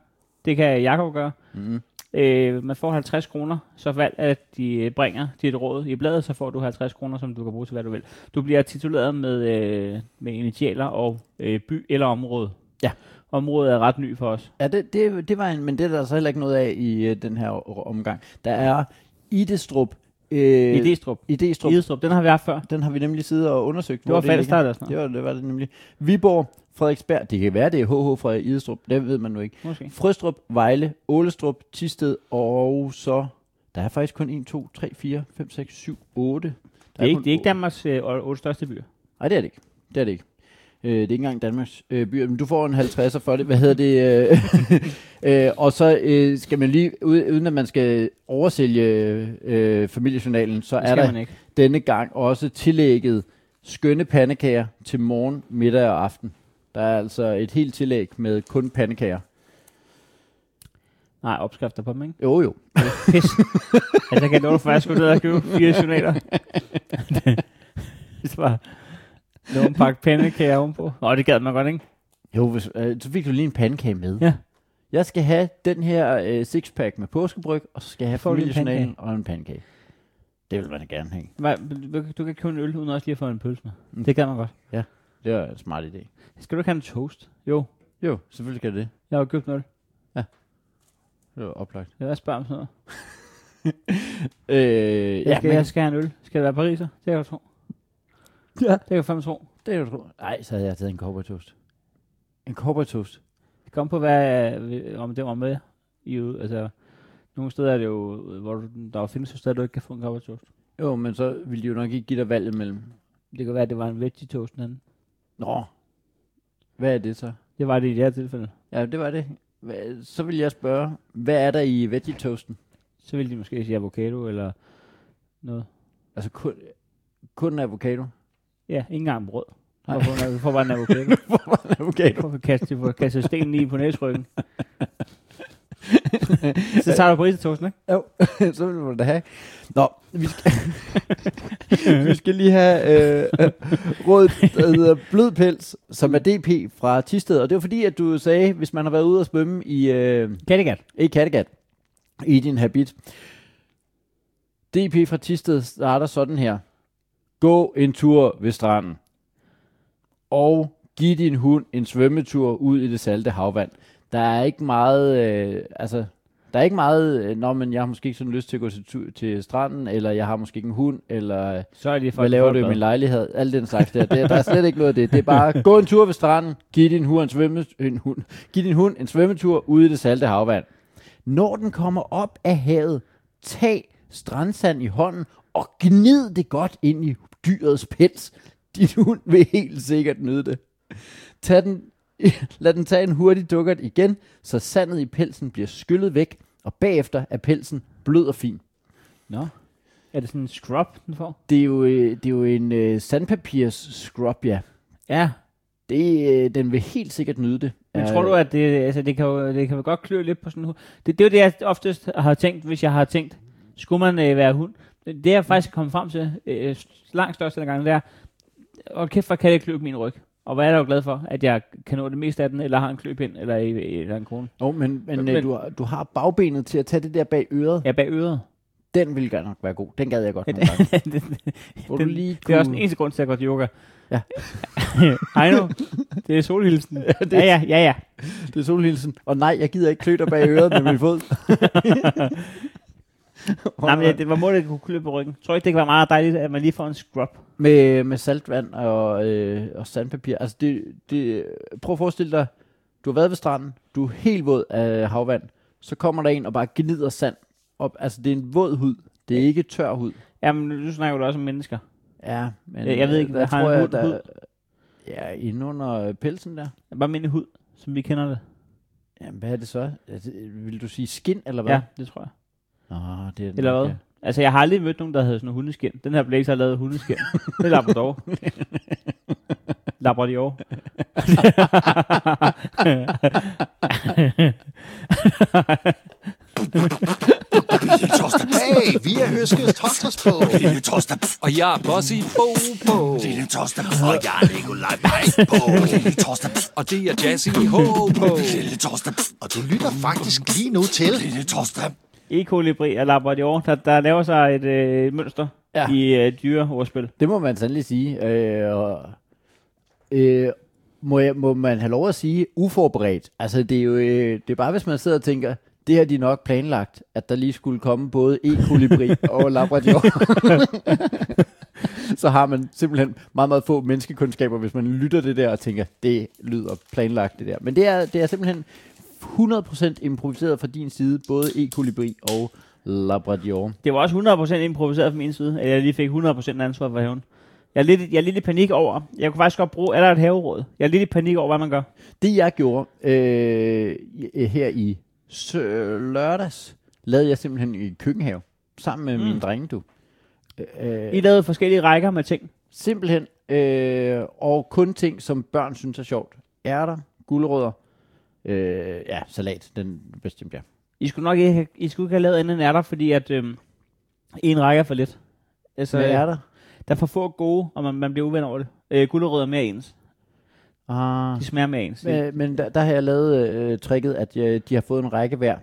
Speaker 1: det kan Jakob gøre.
Speaker 3: Mm-hmm.
Speaker 1: Mm. Øh, man får 50 kroner, så valg at de øh, bringer dit råd i bladet, så får du 50 kroner, som du kan bruge til hvad du vil. Du bliver tituleret med, øh, med initialer og øh, by eller område.
Speaker 3: Ja.
Speaker 1: Området er ret ny for os.
Speaker 3: Ja, det, det, det var en, men det er der så heller ikke noget af i øh, den her o- omgang. Der er Idestrup. Øh,
Speaker 1: Idestrup.
Speaker 3: Idestrup.
Speaker 1: Idestrup, den har vi haft før.
Speaker 3: Den har vi nemlig siddet og undersøgt.
Speaker 1: Det var Falster eller sådan
Speaker 3: Det
Speaker 1: noget.
Speaker 3: var, det var det nemlig. Viborg, Frederiksberg, det kan være, det er HH fra Idestrup, det ved man nu ikke.
Speaker 1: Måske.
Speaker 3: Frøstrup, Vejle, Ålestrup, Tisted og så... Der er faktisk kun 1, 2, 3, 4, 5, 6, 7, 8. Der
Speaker 1: Det er, ikke,
Speaker 3: kun
Speaker 1: det er ikke
Speaker 3: otte.
Speaker 1: Danmarks øh, otte største byer.
Speaker 3: Nej, det er det ikke. Det er det ikke. Øh, det er ikke engang Danmarks øh, byer, men du får en 50'er for det. Hvad hedder det? Øh, øh, og så øh, skal man lige, ude- uden at man skal oversælge øh, familiejournalen, så
Speaker 1: Det
Speaker 3: er
Speaker 1: skal
Speaker 3: der
Speaker 1: man ikke.
Speaker 3: denne gang også tillægget skønne pandekager til morgen, middag og aften. Der er altså et helt tillæg med kun pandekager.
Speaker 1: Nej, opskrifter på dem, ikke?
Speaker 3: Jo jo.
Speaker 1: Pis. altså, jeg kan love dig for, at jeg skulle ned og købe fire journaler. det var nogle pakke pandekager ovenpå. Nå, det gad man godt, ikke?
Speaker 3: Jo, hvis, øh, så fik du lige en pandekage med.
Speaker 1: Ja.
Speaker 3: Jeg skal have den her øh, sixpack med påskebryg, og så skal jeg have
Speaker 1: Får du en
Speaker 3: familiejournalen og en pandekage. Det vil man da gerne have.
Speaker 1: Mm. Hva- Du, du kan købe en øl, uden også lige at få en pølse med. Det gad man godt.
Speaker 3: Ja. Det er en smart idé.
Speaker 1: Skal du ikke have en toast? Jo,
Speaker 3: Jo, selvfølgelig skal det det.
Speaker 1: jeg har købt noget.
Speaker 3: Det var oplagt.
Speaker 1: Jeg spørger om sådan noget.
Speaker 3: Øh,
Speaker 1: Jeg
Speaker 3: ja,
Speaker 1: skal,
Speaker 3: men,
Speaker 1: jeg skal have en øl. Skal det være pariser? Det kan jeg tro. Ja. Det kan jeg fandme tro.
Speaker 3: det er jo tro. Nej, så havde jeg taget en cowboy toast. En cowboy toast?
Speaker 1: Det kommer på, hvad, øh, om det var med i ud. Altså, nogle steder er det jo, øh, hvor du, der findes jo steder, du ikke kan få en cowboy toast.
Speaker 3: Jo, men så ville de jo nok ikke give dig valget mellem.
Speaker 1: Det kan være, at det var en veggie toast den anden.
Speaker 3: Nå, hvad er det så?
Speaker 1: Det var det i det her tilfælde.
Speaker 3: Ja, det var det. Hva- Så vil jeg spørge, hvad er der i veggie toasten?
Speaker 1: Så ville de måske sige avocado eller noget.
Speaker 3: Altså kun, kun en avocado?
Speaker 1: Ja, ikke engang brød.
Speaker 3: Nej.
Speaker 1: Hvorfor, når vi får bare en avocado?
Speaker 3: avocado.
Speaker 1: Hvorfor kaste, for kaste stenen i på næsryggen? så tager du på isetosten, ikke?
Speaker 3: Jo, så vil man da have. Nå, vi skal, vi skal lige have øh, øh, rådet, der hedder Blødpels, som er DP fra Tisted. Og det var fordi, at du sagde, hvis man har været ude og svømme i, øh,
Speaker 1: Kattegat.
Speaker 3: i Kattegat, i din habit. DP fra Tisted starter sådan her. Gå en tur ved stranden. Og giv din hund en svømmetur ud i det salte havvand. Der er ikke meget, øh, altså, der er ikke meget, øh, når men jeg har måske ikke sådan lyst til at gå til, tu- til stranden, eller jeg har måske ikke en hund, eller øh,
Speaker 1: Så er det for,
Speaker 3: hvad laver du i min lejlighed? Alt den slags der. Det, der er slet ikke noget af det. Det er bare, gå en tur ved stranden, giv din hund en, svømme, en hund, giv din hund en svømmetur ude i det salte havvand. Når den kommer op af havet, tag strandsand i hånden og gnid det godt ind i dyrets pels. Din hund vil helt sikkert nyde det. Tag den, lad den tage en hurtig dukkert igen, så sandet i pelsen bliver skyllet væk, og bagefter er pelsen blød og fin.
Speaker 1: Nå. Er det sådan en scrub, den får?
Speaker 3: Det er jo, øh, det er jo en øh, sandpapirs scrub, ja.
Speaker 1: Ja.
Speaker 3: Det, øh, den vil helt sikkert nyde det.
Speaker 1: Men
Speaker 3: Øh,
Speaker 1: tror du, at det, altså, det, kan jo, det kan jo godt klø lidt på sådan en hund? Det, det er jo det, jeg oftest har tænkt, hvis jeg har tænkt, skulle man øh, være hund? Det jeg faktisk er kommet frem til, øh, langt største af gangen, det er, og kæft, hvor kan det klø på min ryg? Og hvad er jeg jo glad for, at jeg kan nå det meste af den, eller har en kløpind, eller, eller en krone?
Speaker 3: Jo, men, men, men
Speaker 1: Men-
Speaker 3: du, har- du har bagbenet til at tage det der bag øret. Ja.
Speaker 1: Ja, bag øret.
Speaker 3: Den ville godt nok være god. Den gad jeg godt
Speaker 1: Ja,
Speaker 3: nogle gange.
Speaker 1: den,
Speaker 3: Hvor
Speaker 1: den,
Speaker 3: du lige
Speaker 1: Det er også den
Speaker 3: kunne-
Speaker 1: eneste grund til, at jeg går til yoga.
Speaker 3: Ja.
Speaker 1: Hej nu. Det er solhilsen. Ja,
Speaker 3: det er-
Speaker 1: ja, ja, ja.
Speaker 3: Det er solhilsen. Og nej, jeg gider ikke klø dig bag øret med min fod.
Speaker 1: Nej, men det var måde, det kunne klø på ryggen. Tror ikke, det kan være meget dejligt, at man lige får en scrub?
Speaker 3: med, med saltvand og, øh, og sandpapir. Altså det, det, prøv at forestille dig, du har været ved stranden, du er helt våd af havvand, så kommer der en og bare gnider sand op. Altså det er en våd hud, det er ikke tør hud.
Speaker 1: Jamen, nu snakker du også om mennesker.
Speaker 3: Ja, men
Speaker 1: Jeg- jeg ved
Speaker 3: øh,
Speaker 1: ikke,
Speaker 3: der
Speaker 1: hvad har en
Speaker 3: tror
Speaker 1: hund- hud?
Speaker 3: Ja, inde under øh, pelsen der.
Speaker 1: Bare min hud, som vi kender det.
Speaker 3: Jamen, hvad er det så? Er det- Vil du sige skin, eller hvad?
Speaker 1: Ja, det tror jeg.
Speaker 3: Nå, det er den
Speaker 1: Eller
Speaker 3: nok,
Speaker 1: hvad?
Speaker 3: ja.
Speaker 1: Altså, jeg har aldrig mødt nogen, der havde sådan en hundeskin. Den her blæs har lavet hundeskin. det er Labrador. Labrador.
Speaker 4: Lille torsdag. Hey, vi er Høskes Torsdags på. Lille torsdag.
Speaker 2: Og jeg er Bossy Bo Bo.
Speaker 4: Lille torsdag. Og jeg er Nikolaj Pajk på. Lille torsdag.
Speaker 2: Og det er Jazzy Ho Bo.
Speaker 4: Lille torsdag. Og du lytter faktisk lige nu til. Lille torsdag.
Speaker 1: E-kolibri og Labrador, der, der laver sig et øh, mønster
Speaker 3: Ja.
Speaker 1: ja. i øh, dyreordspil.
Speaker 3: Det må man sandelig sige. Øh, og, øh, må, jeg, må man have lov at sige uforberedt? Altså, det er jo øh, det er bare, hvis man sidder og tænker, det har de nok planlagt, at der lige skulle komme både e-kolibri og labrador. så har man simpelthen meget, meget få menneskekundskaber, hvis man lytter det der og tænker, det lyder planlagt det der. Men det er, det er simpelthen 100% improviseret fra din side, både e-kolibri og labrador.
Speaker 1: Det var også 100% improviseret fra min side, at jeg lige fik 100% ansvar for haven. Jeg er, lidt, jeg er lidt i panik over. Jeg kunne faktisk godt bruge, er der et haveråd? Jeg er lidt i panik over, hvad man gør.
Speaker 3: Det jeg gjorde øh, i- her i sø- lørdags, lavede jeg simpelthen i køkkenhave, sammen med mm. min drenge, du. Øh,
Speaker 1: I lavede forskellige rækker med ting.
Speaker 3: Simpelthen, øh, og kun ting, som børn synes er sjovt. Ærter, gulerødder, øh, ja, salat, den bestemte jeg.
Speaker 1: I skulle nok ikke, have- I skulle ikke have lavet andet end ærter, fordi at øhm, en række er for lidt. Altså,
Speaker 3: Så ærter?
Speaker 1: der er for få gode, og man, man bliver uven over det. Øh, gulerødder er mere ens.
Speaker 3: Ah.
Speaker 1: De smager mere ens.
Speaker 3: Men, men der, der har jeg lavet øh, tricket, at jeg, de har fået en række hver.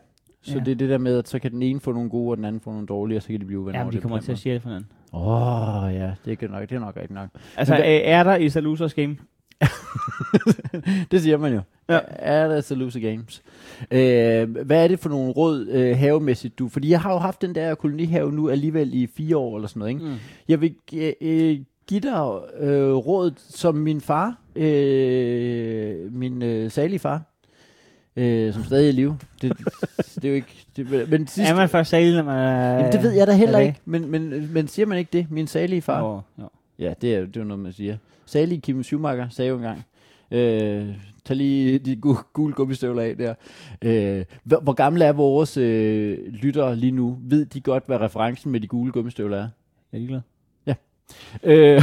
Speaker 3: Så
Speaker 1: Ja.
Speaker 3: det er det der med, at så kan den ene få nogle gode, og den anden få nogle dårlige, og så kan de blive uvenner
Speaker 1: Ja,
Speaker 3: over
Speaker 1: de
Speaker 3: det på
Speaker 1: kommer
Speaker 3: den
Speaker 1: til at
Speaker 3: måde.
Speaker 1: sjæle for hinanden.
Speaker 3: Åh, oh, ja, det er nok, det er nok rigtigt nok.
Speaker 1: Altså,
Speaker 3: Men
Speaker 1: øh, ærter i Salusers game.
Speaker 3: det siger man jo. Ja. That's a loser games. Øh, hvad er det for nogle råd øh, havemæssigt, du... Fordi jeg har jo haft den der kolonihave nu alligevel i fire år eller sådan noget, ikke? Mm. Jeg vil gi- øh, give dig øh, råd, som min far, øh, min øh, salige far, øh, som stadig er i live. Det, det er jo ikke... Det, men sidst,
Speaker 1: Er man først salig, når man er...
Speaker 3: Jamen, det ved jeg da heller
Speaker 1: er det?
Speaker 3: ikke, men, men, men siger man ikke det? Min salige far.
Speaker 1: Nå, nå.
Speaker 3: Ja, det er jo det er jo noget, man siger. Særlig Kim Schumacher sagde jo engang, øh, tag lige de gu- gule gummistøvler af der. Øh, hvor, hvor gamle er vores øh, lyttere lige nu? Ved de godt, hvad referencen med de gule gummistøvler er?
Speaker 1: Jeg er ligeglad.
Speaker 3: Øh,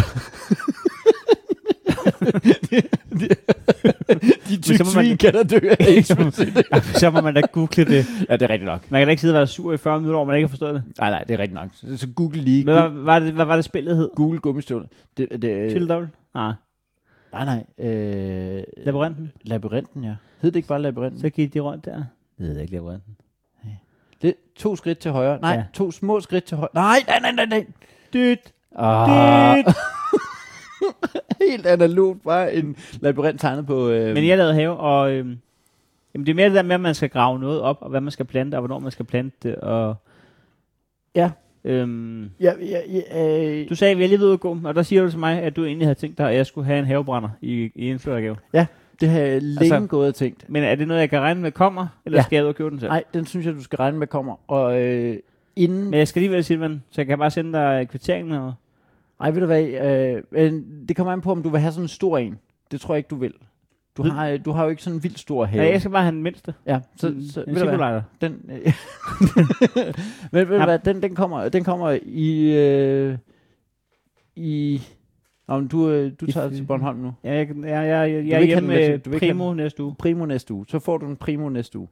Speaker 3: de
Speaker 1: så
Speaker 3: tykke
Speaker 1: må man-
Speaker 3: svin kan da dø af eksplicit.
Speaker 1: så må man da google det.
Speaker 3: Ja, det er rigtigt nok.
Speaker 1: Man kan da ikke sidde og være sur i 40 minutter over, man ikke har forstået det.
Speaker 3: Nej, nej, det er rigtigt nok. Så, så google lige
Speaker 1: Men
Speaker 3: gu-
Speaker 1: hvad, var det, hvad var det spillet hed?
Speaker 3: gule gummistøvler. Det, det,
Speaker 1: Chill Double? Nej,
Speaker 3: Øh. nej, nej. Øh,
Speaker 1: Labyrinten.
Speaker 3: labyrinten, ja. Hed det ikke bare labyrinten?
Speaker 1: Så gik de rundt der. Jeg ved ikke Labyrinten.
Speaker 3: Det, to skridt til højre. Nej,
Speaker 1: Ja.
Speaker 3: ja. to små skridt til højre. Nej, nej, nej, nej, nej.
Speaker 1: Dyt,
Speaker 3: Ah.
Speaker 1: dyt.
Speaker 3: Helt analogt, bare en labyrint tegnet på... Øh,
Speaker 1: Men jeg lavede have, og øhm, jamen, det er mere det der med, at man skal grave noget op, og hvad man skal plante, og hvornår man skal plante det, og...
Speaker 3: Ja.
Speaker 1: Øhm,
Speaker 3: Ja, ja, ja, øh,
Speaker 1: du sagde, at vi er lige ved at gå, og der siger du til mig, at du egentlig havde tænkt dig, at jeg skulle have en havebrænder i, i indflyttergave.
Speaker 3: det har jeg længe
Speaker 1: Altså-
Speaker 3: altså, gået og tænkt.
Speaker 1: Men er det noget, jeg kan regne med kommer, eller ja.
Speaker 3: Ja.
Speaker 1: skal jeg ud og købe den selv?
Speaker 3: Nej, den synes jeg, du skal regne med kommer. Og øh, inden...
Speaker 1: Men jeg skal alligevel sige, man, så jeg kan bare sende dig kvitteringen. Og...
Speaker 3: Ej, ved du hvad? Øh, men det kommer an på, om du vil have sådan en stor en. Det tror jeg ikke, du vil. Du
Speaker 1: Ved-
Speaker 3: har, øh, du har jo ikke sådan en vild stor have.
Speaker 1: Ja, jeg Mm, skal bare have den mindste.
Speaker 3: ja så,
Speaker 1: En-
Speaker 3: så,
Speaker 1: en
Speaker 3: ved du hvad?
Speaker 1: cirkulejder.
Speaker 3: Den, øh, men ved du
Speaker 1: Ja.
Speaker 3: hvad, den, den, kommer, den kommer i... Øh, i Nå, men du, øh, du
Speaker 1: I-
Speaker 3: tager til Bornholm nu.
Speaker 1: Ja, jeg, jeg, jeg, jeg, jeg
Speaker 3: ikke
Speaker 1: er
Speaker 3: have
Speaker 1: hjemme
Speaker 3: den med
Speaker 1: med
Speaker 3: til- du vil ikke have
Speaker 1: Primo næste uge.
Speaker 3: Primo næste uge. Så får du en primo næste uge.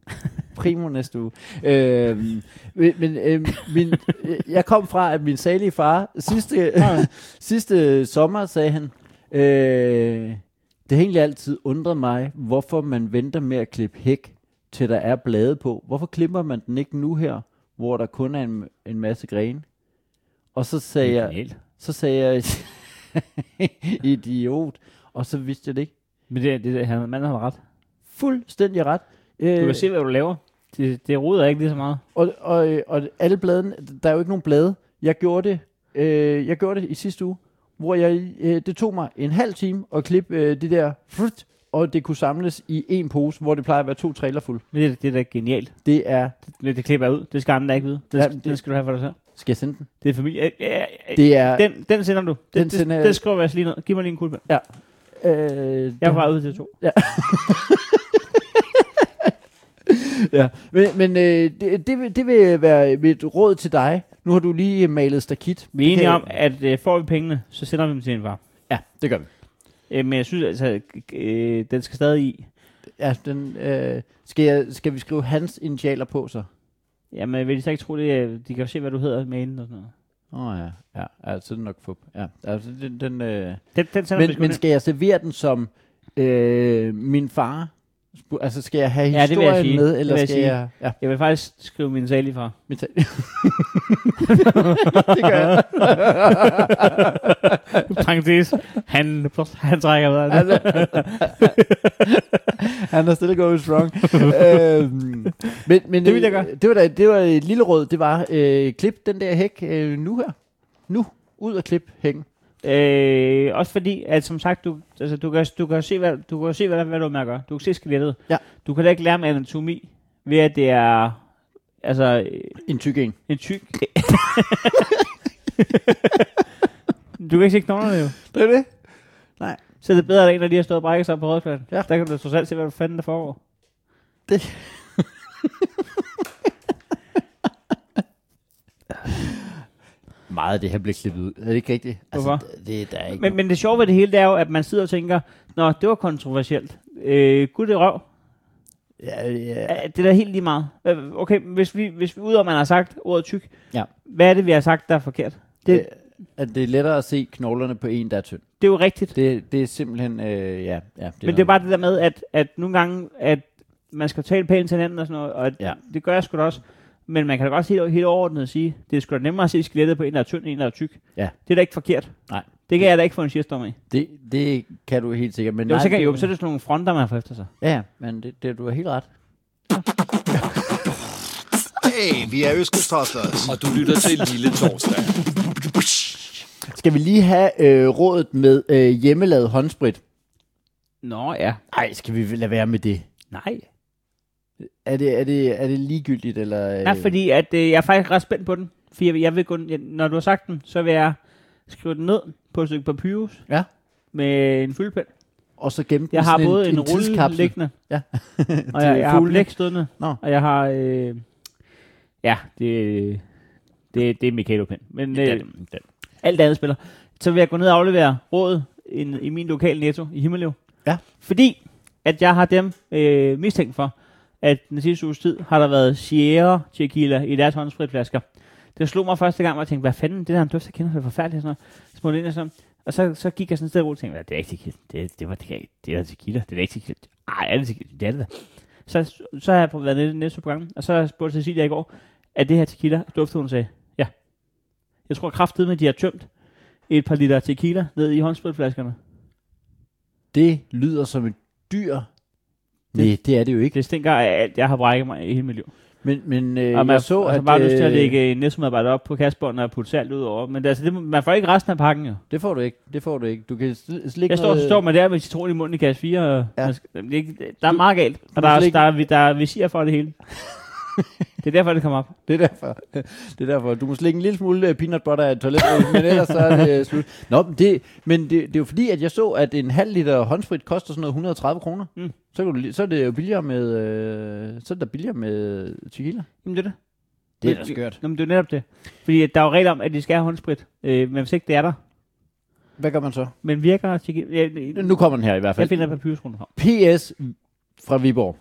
Speaker 3: Primo næste uge. Øhm, men men øhm, min, øh, jeg kom fra, at min salige far sidste,
Speaker 1: Ah.
Speaker 3: sidste sommer sagde han, øh, det har egentlig altid undret mig, hvorfor man venter med at klippe hæk, til der er blade på. Hvorfor klipper man den ikke nu her, hvor der kun er en, en masse grene? Og så sagde jeg, så sagde jeg, idiot, og så vidste jeg det ikke.
Speaker 1: Men det, det, det han, manden har ret.
Speaker 3: Fuldstændig ret. Øh,
Speaker 1: Du kan se, hvad du laver. Det, det roder ikke lige så meget.
Speaker 3: Og, og, øh, og alle bladene, der er jo ikke nogen blade. Jeg gjorde det, øh, jeg gjorde det i sidste uge, hvor jeg, øh, det tog mig en halv time at klippe øh, det der, frut, og det kunne samles i en pose, hvor det plejer at være to trailer fuld.
Speaker 1: Men det, det er da genialt.
Speaker 3: Det er,
Speaker 1: Det, det klipper jeg ud. Det skal andre da ikke vide. Det, ja,
Speaker 3: Ja,
Speaker 1: det,
Speaker 3: det-
Speaker 1: det skal du have for dig selv.
Speaker 3: skal jeg sende den?
Speaker 1: Det er familie. Ja, ja, ja.
Speaker 3: Det er,
Speaker 1: Den, den sender du. Det,
Speaker 3: Den
Speaker 1: det,
Speaker 3: sender
Speaker 1: det,
Speaker 3: jeg.
Speaker 1: det skriver jeg altså lige ned. Giv mig lige en kuglepen.
Speaker 3: øh,
Speaker 1: Jeg er bare ude til to.
Speaker 3: ja. Men, men øh, det, det, vil, det vil være mit råd til dig. Nu har du lige malet stakit.
Speaker 1: Vi er enige
Speaker 3: Det-
Speaker 1: om, at øh, får vi pengene, så sender vi dem til en far.
Speaker 3: Ja, det gør vi.
Speaker 1: Øh, men jeg synes altså, øh, den skal stadig i.
Speaker 3: Ja, den, øh, skal, jeg, skal vi skrive hans initialer på så?
Speaker 1: Jamen, vil de så ikke tro det? er- De kan jo se, hvad du hedder med inden og sådan noget.
Speaker 3: Åh oh, ja, ja, ja, så er det nok fup. Ja, altså den, den øh,
Speaker 1: Den, den sender vi
Speaker 3: Men,
Speaker 1: sgu
Speaker 3: men
Speaker 1: ned.
Speaker 3: skal jeg servere den som øh, min far? Sp- Altså, skal jeg have
Speaker 1: Ja, det vil jeg
Speaker 3: historien
Speaker 1: sige.
Speaker 3: med,
Speaker 1: Det
Speaker 3: eller
Speaker 1: vil jeg
Speaker 3: skal
Speaker 1: sige.
Speaker 3: jeg... Ja,
Speaker 1: Jeg vil faktisk skrive min sal fra.
Speaker 3: mit tal. det gør jeg.
Speaker 1: Parenthes. Han, han trækker videre.
Speaker 3: Han er- Han er still going strong. øhm, men, men,
Speaker 1: Det vil jeg
Speaker 3: øh,
Speaker 1: gøre.
Speaker 3: Det var, da, det var et lille råd, det var, øh, klip den der hæk øh, nu her. Nu, ud og klip hækken.
Speaker 1: Øh, også fordi, at som sagt, du, altså, du, kan, du kan se, hvad, du kan se hvad, hvad du har med at gøre. Du kan se skelettet.
Speaker 3: Ja.
Speaker 1: Du kan da ikke lære med anatomi, ved at det er altså, øh,
Speaker 3: En tyk en.
Speaker 1: en tyk... du kan ikke se knoglerne jo.
Speaker 3: Det er det.
Speaker 1: Så det er bedre, at der er en, der lige har stået og brækket sig på rådspladsen.
Speaker 3: Ja.
Speaker 1: Der kan du trods alt se, hvad fanden der foregår.
Speaker 3: Meget af det her bliver klippet ud. Er det ikke rigtigt?
Speaker 1: Hvorfor?
Speaker 3: Altså, det, der er ikke...
Speaker 1: Men, men det sjove ved det hele, det er jo, at man sidder og tænker, Nå, det var kontroversielt. Øh, gud, det er røv.
Speaker 3: ja, ja.
Speaker 1: Ja, Det er da helt lige meget. Øh, Okay, hvis vi, hvis vi udover man har sagt ordet tyk,
Speaker 3: Ja.
Speaker 1: hvad er det, vi har sagt, der er forkert? Det,
Speaker 3: Det, Øh, at det er lettere at se knoglerne på en, der er tynd.
Speaker 1: det er jo rigtigt.
Speaker 3: Det, det er simpelthen, øh, ja. ja det
Speaker 1: Men det er bare det der med, at, at nogle gange, at man skal tale pænt til hinanden og sådan noget, og ja.
Speaker 3: Ja.
Speaker 1: det gør jeg sgu da også. Men man kan da godt helt, helt overordnet sige, det er sgu da nemmere at se skelettet på en, der er tynd, end en, der er tyk.
Speaker 3: Ja.
Speaker 1: Det er da ikke forkert.
Speaker 3: Nej.
Speaker 1: Det kan jeg da ikke få en shitstorm i.
Speaker 3: Det, det kan du helt sikkert. Men
Speaker 1: Jo,
Speaker 3: Mm. nej,
Speaker 1: så, kan,
Speaker 3: det-
Speaker 1: jo, så er det sådan nogle fronter, man får efter sig.
Speaker 3: Ja, men det, det, du har helt ret.
Speaker 4: Hey, vi er Øskes
Speaker 2: Og du lytter til Lille Torsdag.
Speaker 3: Skal vi lige have øh, rådet med øh, hjemmelavet håndsprit?
Speaker 1: Nå ja.
Speaker 3: Nej, skal vi lade være med det?
Speaker 1: Nej.
Speaker 3: Øh. Er det, er det, er det ligegyldigt? Eller, øh,
Speaker 1: Nej, fordi at, øh, jeg er faktisk ret spændt på den. For jeg, jeg vil kun, jeg, når du har sagt den, så vil jeg skrive den ned på et stykke papyrus
Speaker 3: Ja.
Speaker 1: med en fyldepen.
Speaker 3: Og så gemme den
Speaker 1: Jeg har
Speaker 3: sådan
Speaker 1: både en, en rulle
Speaker 3: tidskapsel.
Speaker 1: liggende,
Speaker 3: Ja.
Speaker 1: og jeg, jeg har
Speaker 3: fuglene.
Speaker 1: blæk stående,
Speaker 3: Nå.
Speaker 1: og jeg har... Øh, ja, det, det, det er Michaelo Pind. Men øh, alt andet spiller. Så vil jeg gå ned og aflevere rådet in, i min lokale netto i Himmeløv.
Speaker 3: Ja.
Speaker 1: Fordi at jeg har dem øh, mistænkt for, at den sidste uges tid har der været Sierra Tequila i deres håndspritflasker. Det slog mig første gang, hvor jeg tænkte, hvad fanden, det der er en duft, jeg kender, det er forfærdeligt. og Sådan noget. Så smutte ind og sådan. Og så, så gik jeg sådan et sted rundt og tænkte, "Hvad, det er ikke tequila. Det, det, var, det, er, det er da tequila. Det er da ikke tequila. Ej, er det tequila? Det er det da. Så, så har jeg på- været nede i det næste program, og så har jeg spurgt Cecilia i går, er det her tequila? Duftede hun sagde, ja. Jeg tror kraftedeme, at de har tømt et par liter tequila ned i håndspritflaskerne.
Speaker 3: Det lyder som et dyr. Nej, det er det jo ikke.
Speaker 1: Det stinker af alt, jeg har brækket mig i hele mit liv.
Speaker 3: Men, men øh,
Speaker 1: Og man
Speaker 3: jeg så,
Speaker 1: altså
Speaker 3: at...
Speaker 1: bare lyst til at
Speaker 3: øh,
Speaker 1: lægge en næstmedarbejder op på kastbånden og putte salt ud over. Men det, altså, det, man får ikke resten af pakken jo.
Speaker 3: Det får du ikke. Det får du ikke. Du kan sl- slikke
Speaker 1: Jeg står,
Speaker 3: noget-
Speaker 1: står man der med citron i munden i kasse 4, og
Speaker 3: Ja.
Speaker 1: ja. man skal, det er ikke- der er meget galt. Og der,
Speaker 3: må
Speaker 1: er,
Speaker 3: slet
Speaker 1: der,
Speaker 3: ikke-
Speaker 1: er, der er visir for det hele. det er derfor, det kommer op.
Speaker 3: Det er derfor. Det er derfor. Du må slikke en lille smule øh, peanut butter af toilet, men ellers så er det øh, slut. Nå, men det, men det, det er jo fordi, at jeg så, at en halv liter håndsprit koster sådan noget 130 kroner. Mm.
Speaker 1: Mm.
Speaker 3: Så, kan du, lige- så er det jo billigere med, øh, så er det da billigere med tequila.
Speaker 1: Jamen, det er det.
Speaker 3: Det er
Speaker 1: Men-
Speaker 3: da skørt.
Speaker 1: Jamen, det er jo netop det. Fordi at der er jo regler om, at de skal have håndsprit. Øh, men hvis ikke det er der.
Speaker 3: Hvad gør man så?
Speaker 1: Men virker... tjek- Jeg, jeg,
Speaker 3: Nu kommer den her i hvert
Speaker 1: jeg
Speaker 3: fald.
Speaker 1: finder papyrusrunden frem.
Speaker 3: PS fra Viborg.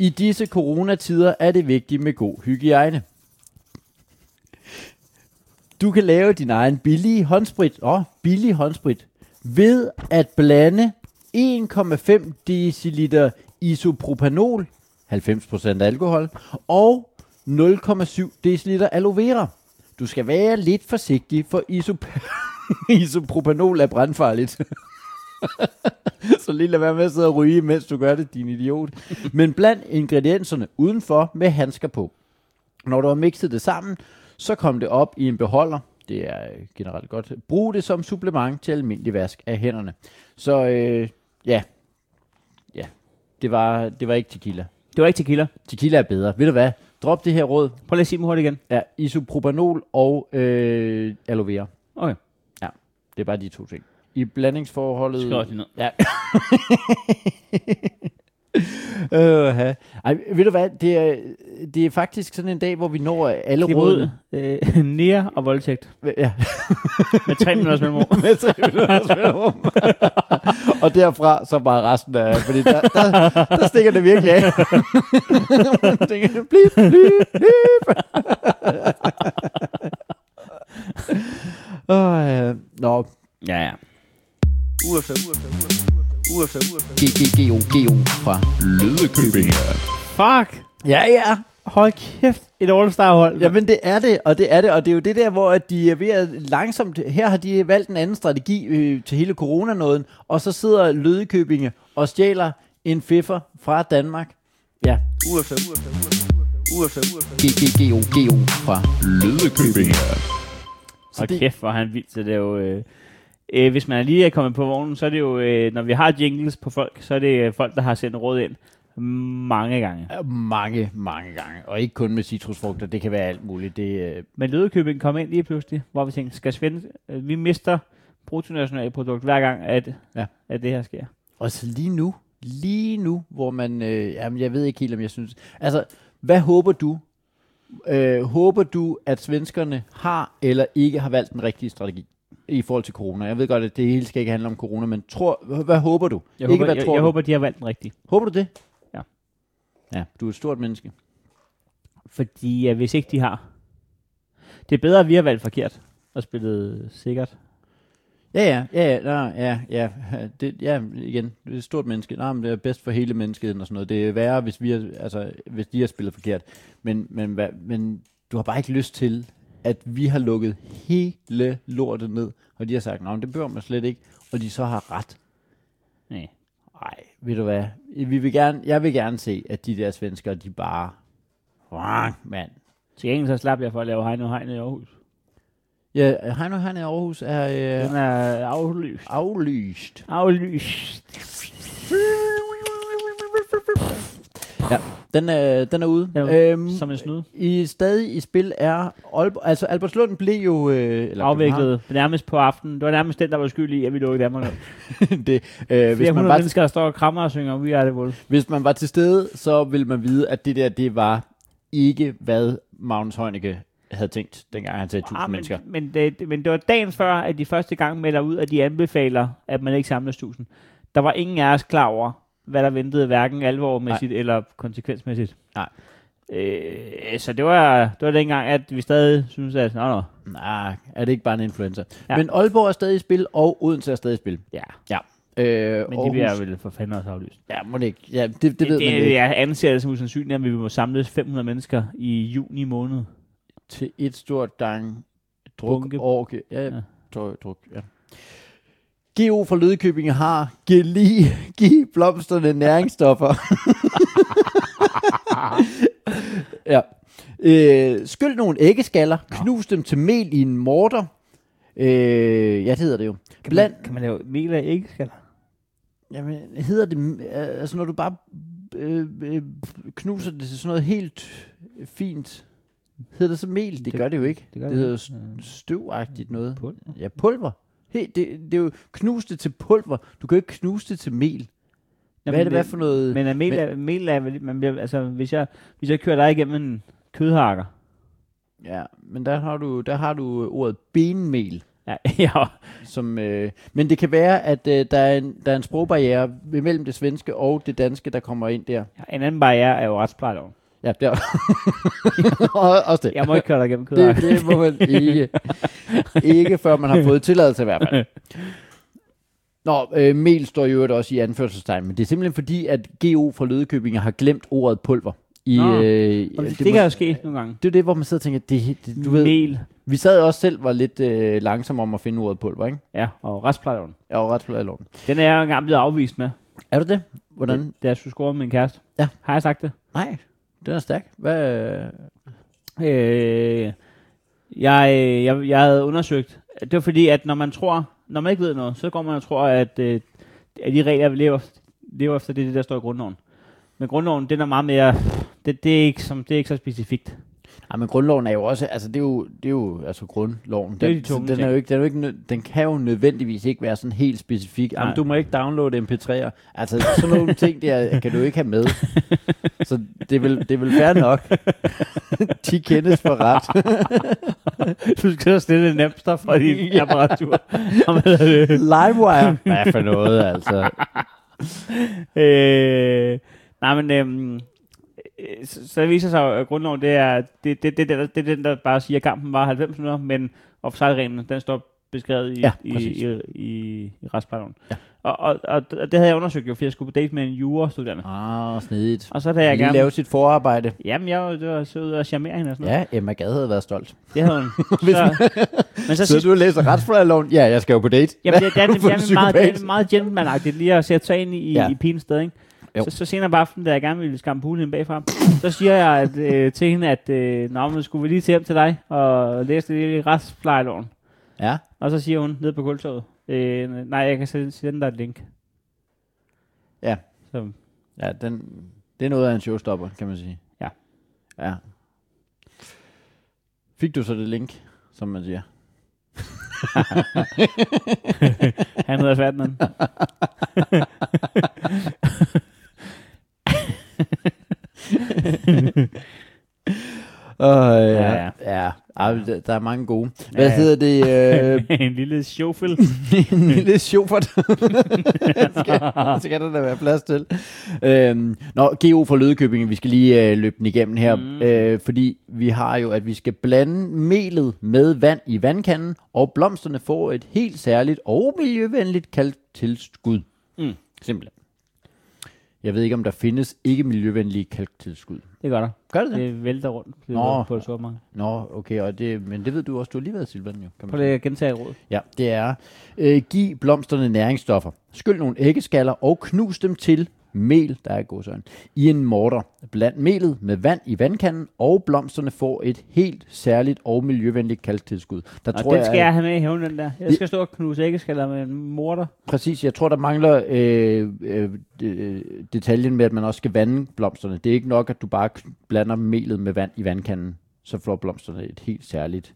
Speaker 3: I disse coronatider er det vigtigt med god hygiejne. Du kan lave din egen billige håndsprit, åh, billig håndsprit, ved at blande 1,5 deciliter isopropanol, 90% alkohol, og 0,7 deciliter aloe vera. Du skal være lidt forsigtig, for isop- isopropanol er brandfarligt. Så lige lad være med at sidde og ryge, mens du gør det, din idiot. Men bland ingredienserne udenfor med handsker på. Når du har mixet det sammen, så kom det op i en beholder. Det er øh, generelt godt. Brug det som supplement til almindelig vask af hænderne. Så øh, ja, ja, det var, det var ikke tequila.
Speaker 1: Det var ikke tequila.
Speaker 3: Tequila er bedre. Ved du hvad? Drop det her råd.
Speaker 1: Prøv lige at sige dem hurtigt igen.
Speaker 3: Ja, isopropanol og øh, aloe vera.
Speaker 1: Okay.
Speaker 3: Ja, det er bare de to ting. I blandingsforholdet...
Speaker 1: Skriv også lige ned.
Speaker 3: Ja. øh, Ej, ved du hvad, det er, det er faktisk sådan en dag, hvor vi når alle
Speaker 1: Det er
Speaker 3: rådene.
Speaker 1: både øh, nære og voldtægt.
Speaker 3: Ja,
Speaker 1: Med tre minutters mellemrum.
Speaker 3: med til Ølandsvælrum. Og derfra så bare resten af, fordi der, der, der stikker det virkelig af. Man tænker, blip, blip, blip. Åh, ja. Nå,
Speaker 1: ja, ja.
Speaker 3: GGGO fra
Speaker 5: Lødekøbing.
Speaker 1: Fuck!
Speaker 3: Ja, ja.
Speaker 1: Hold kæft, et all-star-hold.
Speaker 3: Jamen det er det, og det er det, og det er jo det der, hvor at de er ved at langsomt, her har de valgt en anden strategi øh, til hele coronanåden, og så sidder Lødekøbinge og stjæler en fiffer fra Danmark. Ja. GGGO fra.
Speaker 5: Lødekøbing.
Speaker 1: Så og
Speaker 3: det-
Speaker 1: det... kæft, hvor er han vild, så det er jo... Øh, øh, hvis man lige er kommet på vognen, så er det jo... Øh, når vi har jingles på folk, så er det øh, folk, der har sendt råd ind mange gange.
Speaker 3: Mange, mange gange, og ikke kun med citrusfrugter, det kan være alt muligt. Det, øh,
Speaker 1: Men Lødekøbing kom ind lige pludselig, hvor vi tænkte, skal Svend, øh, vi mister bruttonationalprodukt hver gang, at,
Speaker 3: Ja.
Speaker 1: ja. at det her sker.
Speaker 3: Og så lige nu, lige nu, hvor man, øh, jamen jeg ved ikke helt, om jeg synes, altså, hvad håber du? Øh, håber du, at svenskerne har eller ikke har valgt den rigtige strategi i forhold til corona? Jeg ved godt, at det hele skal ikke handle om corona, men tror, hvad håber du?
Speaker 1: Jeg,
Speaker 3: ikke,
Speaker 1: håber,
Speaker 3: hvad
Speaker 1: jeg,
Speaker 3: tror
Speaker 1: jeg
Speaker 3: du?
Speaker 1: håber, de har valgt den rigtige.
Speaker 3: håber du det?
Speaker 1: Ja.
Speaker 3: Ja, du er et stort menneske.
Speaker 1: Fordi ja, hvis ikke de har... Det er bedre, at vi har valgt forkert og spillet sikkert.
Speaker 3: Ja, ja, ja, ja, nå, ja, ja, det, ja, igen, det er et stort menneske. Nej, men det er bedst for hele menneskeheden og sådan noget. Det er værre, hvis, vi er, altså, hvis de har spillet forkert. Men, men, hvad- men du har bare ikke lyst til, at vi har lukket hele lortet ned, og de har sagt, at det bør man slet ikke, og de så har ret.
Speaker 1: Nej.
Speaker 3: Nej, ved du hvad? Vi vil gerne, jeg vil gerne se, at de der svenskere, de bare... Wang, mand.
Speaker 1: Til gengæld så slap jeg for at lave Heino Heine i Aarhus.
Speaker 3: Ja, Heino Heine i Aarhus er øh,
Speaker 1: Den er aflyst.
Speaker 3: aflyst.
Speaker 1: Aflyst.
Speaker 3: Den er, den er ude.
Speaker 1: Den er
Speaker 3: øhm,
Speaker 1: Som en snud.
Speaker 3: i, stadig i spil er Aalborg, altså Albertslund blev jo øh, eller
Speaker 1: Afviklet nærmest på aftenen. Det var nærmest den, der var skyldig i, at vi lukkede Danmark.
Speaker 3: København. det, øh,
Speaker 1: Flere
Speaker 3: hvis, man
Speaker 1: hundrede
Speaker 3: var,
Speaker 1: mennesker, der står og krammer og synger, vi er det vel.
Speaker 3: hvis man var til stede, så ville man vide, at det der, det var ikke, hvad Magnus Heunicke havde tænkt, dengang han sagde 1000
Speaker 1: Ah, men,
Speaker 3: mennesker.
Speaker 1: men, det, det- men det var dagen før, at de første gang melder ud, at de anbefaler, at man ikke samles 1000. Der var ingen af os klar over, hvad der ventede, hverken alvormæssigt Nej. eller konsekvensmæssigt.
Speaker 3: Nej.
Speaker 1: Øh, så det var, det var dengang, at vi stadig synes at nå, nå.
Speaker 3: Nej, Ah, er det ikke bare en influencer?
Speaker 1: Ja.
Speaker 3: Ja. Men Aalborg er stadig i spil, og Odense er stadig i spil.
Speaker 1: Ja,
Speaker 3: Ja. Øh,
Speaker 1: men Aarhus. de bliver vel for fanden også aflyst.
Speaker 3: Ja, må det ikke. Ja, det, det,
Speaker 1: Det,
Speaker 3: ved man
Speaker 1: det,
Speaker 3: ikke.
Speaker 1: jeg anser det som usandsynligt, at vi må samles 500 mennesker i juni måned.
Speaker 3: Til et stort dang druk
Speaker 1: Bunke.
Speaker 3: orke. Ja,
Speaker 1: Ja.
Speaker 3: ja. Druk, druk, ja. GO fra Lødekøbing har geli, giv blomsterne næringsstoffer. ja. Øh, skyld nogle æggeskaller, knus dem til mel i en morter. Øh, ja, det hedder det jo.
Speaker 1: Kan,
Speaker 3: Bland,
Speaker 1: man, kan man lave mel af æggeskaller?
Speaker 3: Jamen, hedder det... øh, Altså, når du bare øh, øh, knuser det til sådan noget helt fint... Hedder det så mel? Det, gør Øh. det jo ikke. Det,
Speaker 1: gør
Speaker 3: det,
Speaker 1: det
Speaker 3: hedder jo
Speaker 1: ikke.
Speaker 3: st- støvagtigt noget.
Speaker 1: Mm. Pulver.
Speaker 3: Ja, pulver. Hey, det, det er jo knuse det til pulver. Du kan jo ikke knuse det til mel. Hvad
Speaker 1: Jamen,
Speaker 3: er det, hvad
Speaker 1: det-
Speaker 3: for noget...
Speaker 1: Men er mel,
Speaker 3: Men-
Speaker 1: er, mel er, vel- man bliver, altså, hvis jeg, hvis jeg kører dig igennem en kødhakker,
Speaker 3: Ja, men der har du, der har du øh, ordet benmel.
Speaker 1: ja, ja,
Speaker 3: Som, øh, men det kan være, at øh, der, er en, der er en sprogbarriere mellem det svenske og det danske, der kommer ind der.
Speaker 1: en anden barriere er jo retsplejeloven.
Speaker 3: Ja, der. Og- Også det.
Speaker 1: Jeg må ikke køre dig igennem
Speaker 3: Det,
Speaker 1: kødhakker.
Speaker 3: det må man ikke. ikke før man har fået tilladelse i hvert fald. Nå, øh, mel står jo øvrigt også i anførselstegn, men det er simpelthen fordi, at GO fra Lødekøbing har glemt ordet pulver. I,
Speaker 1: Nå,
Speaker 3: øh,
Speaker 1: Jamen, det,
Speaker 3: det,
Speaker 1: det, kan jo
Speaker 3: må,
Speaker 1: ske nogle gange.
Speaker 3: det er det, hvor man sidder og tænker, det, det, du ved,
Speaker 1: Mel,
Speaker 3: vi sad også selv var lidt øh, langsomme om at finde ordet pulver, ikke?
Speaker 1: ja, og retsplejeloven.
Speaker 3: Jeg var ret flad i loven.
Speaker 1: Den er jeg jo engang blevet afvist med,
Speaker 3: Er du det? Hvordan?
Speaker 1: da jeg skulle score med min kæreste.
Speaker 3: Ja.
Speaker 1: Har jeg sagt det?
Speaker 3: Nej, den er stærk. Hvad? øh,
Speaker 1: Øh, jeg, jeg, jeg havde undersøgt. Det var fordi, at når man tror, når man ikke ved noget, så går man og tror, at, øh, at de regler, vi lever, efter- lever efter, det er det, der står i grundloven. Men grundloven, den er meget mere... Det, det, er, ikke som, det er ikke så specifikt.
Speaker 3: Ej, men grundloven er jo også, altså det er jo, det er jo altså grundloven. Den,
Speaker 1: Det er de
Speaker 3: så
Speaker 1: tunge
Speaker 3: den, er
Speaker 1: ting.
Speaker 3: jo ikke, den, er jo ikke, nø- den kan jo nødvendigvis ikke være sådan helt specifik.
Speaker 1: Nej.
Speaker 3: Jamen, du må ikke downloade MP3'er. Altså sådan nogle ting der kan du ikke have med. Så det er vel, det er vel fair nok. De kendes for ret.
Speaker 1: du skal stille en Napster fra din apparatur. Og hvad hedder det?
Speaker 3: LimeWire. Hvad for noget, altså.
Speaker 1: øh, nej, men øhm, øh, så, så viser sig, jo, at grundloven, det er, det, det, det, det, det, det er den, der bare siger, at kampen var 90 minutter, men offside-reglen, den står beskrevet i,
Speaker 3: Ja,
Speaker 1: ja, i,
Speaker 3: præcis.
Speaker 1: i, i, i retsplejeloven.
Speaker 3: Ja.
Speaker 1: Og, og, og, og, det havde jeg undersøgt jo, fordi jeg skulle på date med en jurastuderende.
Speaker 3: Ah, snedigt.
Speaker 1: Og så da jeg
Speaker 3: Lige
Speaker 1: gerne...
Speaker 3: lave sit forarbejde.
Speaker 1: Jamen, jeg var, det var så ud og charmere hende og sådan noget.
Speaker 3: Ja, Emma Gade havde været stolt.
Speaker 1: Det havde hun. så, men så,
Speaker 3: Så
Speaker 1: sidst,
Speaker 3: du læser retsforloven? Ja, jeg skal jo på date.
Speaker 1: Jamen, det, det, er, altså- det,
Speaker 3: For
Speaker 1: er,
Speaker 3: en
Speaker 1: det, er meget,
Speaker 3: psykopat.
Speaker 1: det er meget gentleman-agtigt lige at sætte sig ind i, ja.
Speaker 3: Ja.
Speaker 1: i pigens sted, ikke?
Speaker 3: Jo.
Speaker 1: Så, så senere på aftenen, da jeg gerne ville skamme pulen hende bagfra, så siger jeg at, øh, til hende, at øh, Nå, men skulle vi lige til hjem til dig og læse det i retsplejeloven.
Speaker 3: Ja.
Speaker 1: Og så siger hun ned på gulvtoget, øh, nej, jeg kan sende sende dig et link.
Speaker 3: Ja.
Speaker 1: Så,
Speaker 3: Ja, den, det er noget af en showstopper, kan man sige.
Speaker 1: Ja.
Speaker 3: Ja. Fik du så det link, som man siger?
Speaker 1: han hedder Ferdinand.
Speaker 3: Uh, ja,
Speaker 1: ja.
Speaker 3: ja. ja. Ej, der, der er mange gode. Hvad ja, ja. hedder det? Øh,
Speaker 1: en lille showfilm.
Speaker 3: en lille sjovt. skal, skal der da være plads til. Øhm, nå, GO fra Lødekøbing, vi skal lige øh, løbe den igennem her, mm. øh, fordi vi har jo, at vi skal blande melet med vand i vandkanden, og blomsterne får et helt særligt og miljøvenligt kaldt tilskud. Mm. Simpelthen. Jeg ved ikke, om der findes ikke miljøvenlige kalktilskud.
Speaker 1: Det gør der.
Speaker 3: Gør det det?
Speaker 1: Det vælter rundt det
Speaker 3: Nå.
Speaker 1: Nå. på et supermarked.
Speaker 3: Nå, okay, og det, men det ved du også. Du har lige været i Silvan, jo. Kan man
Speaker 1: Prøv lige at gentage råd.
Speaker 3: Ja, det er. Øh, giv blomsterne næringsstoffer. Skyld nogle æggeskaller og knus dem til mel, der er godsøjne, i en morter. Bland melet med vand i vandkanden, og blomsterne får et helt særligt og miljøvenligt kalktilskud. Der
Speaker 1: Og
Speaker 3: tror
Speaker 1: den skal
Speaker 3: jeg,
Speaker 1: jeg have med i hævnen, den der. Jeg skal stå og knuse æggeskaller med en morter.
Speaker 3: Præcis, jeg tror, der mangler øh, øh, øh, detaljen med, at man også skal vande blomsterne. Det er ikke nok, at du bare kn- blander melet med vand i vandkanden, så får blomsterne et helt særligt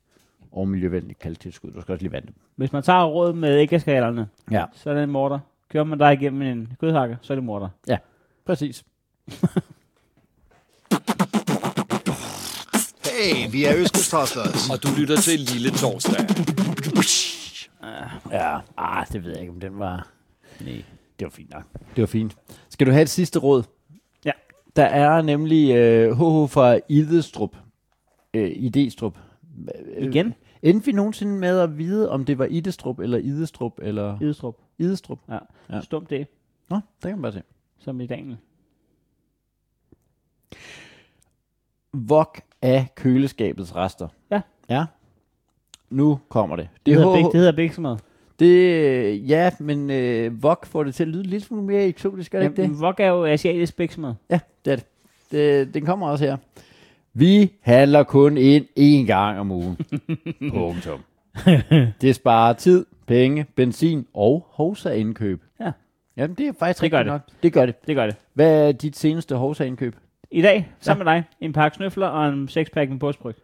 Speaker 3: og miljøvenligt kalktilskud. Du skal også lige vande dem.
Speaker 1: Hvis man tager råd med æggeskallerne,
Speaker 3: Ja,
Speaker 1: så er det en morter. Kører man dig igennem en kødhakker, så er det morter.
Speaker 3: præcis.
Speaker 4: Hey, vi er Østkystosters.
Speaker 2: Og du lytter til Lille Torsdag.
Speaker 3: Ja, ah, det ved jeg ikke, om den var... Nej. Det var fint nok. Det var fint. Skal du have et sidste råd?
Speaker 1: Ja.
Speaker 3: Der er nemlig øh, HH fra Idestrup. Øh, Idestrup.
Speaker 1: Igen,
Speaker 3: Endte vi nogensinde med at vide, om det var Idestrup eller Idestrup eller
Speaker 1: Idestrup.
Speaker 3: Idestrup? Ja.
Speaker 1: Ja. Stum det,
Speaker 3: Nå, det kan man bare se.
Speaker 1: som i dagen.
Speaker 3: Vok af køleskabets rester.
Speaker 1: Ja.
Speaker 3: Ja. Nu kommer det.
Speaker 1: Det, hedder
Speaker 3: HH
Speaker 1: big, det hedder bæksmad.
Speaker 3: det, ja, men øh, Vok får det til at lyde lidt smule mere eksotisk, er det ikke det?
Speaker 1: Vok er jo asiatisk bæksmad.
Speaker 3: Ja, det er det. det. Den kommer også her. Vi handler kun ind én gang om ugen. Punktum. Det sparer tid, penge, benzin og hovsaindkøb.
Speaker 1: Ja.
Speaker 3: Jamen, det er faktisk
Speaker 1: Det gør
Speaker 3: rigtigt
Speaker 1: det.
Speaker 3: nok. Det gør det.
Speaker 1: Det gør det.
Speaker 3: Hvad er dit seneste hovsaindkøb?
Speaker 1: I dag, sammen med dig, en pakke snøfler og en sexpack med påsbryg.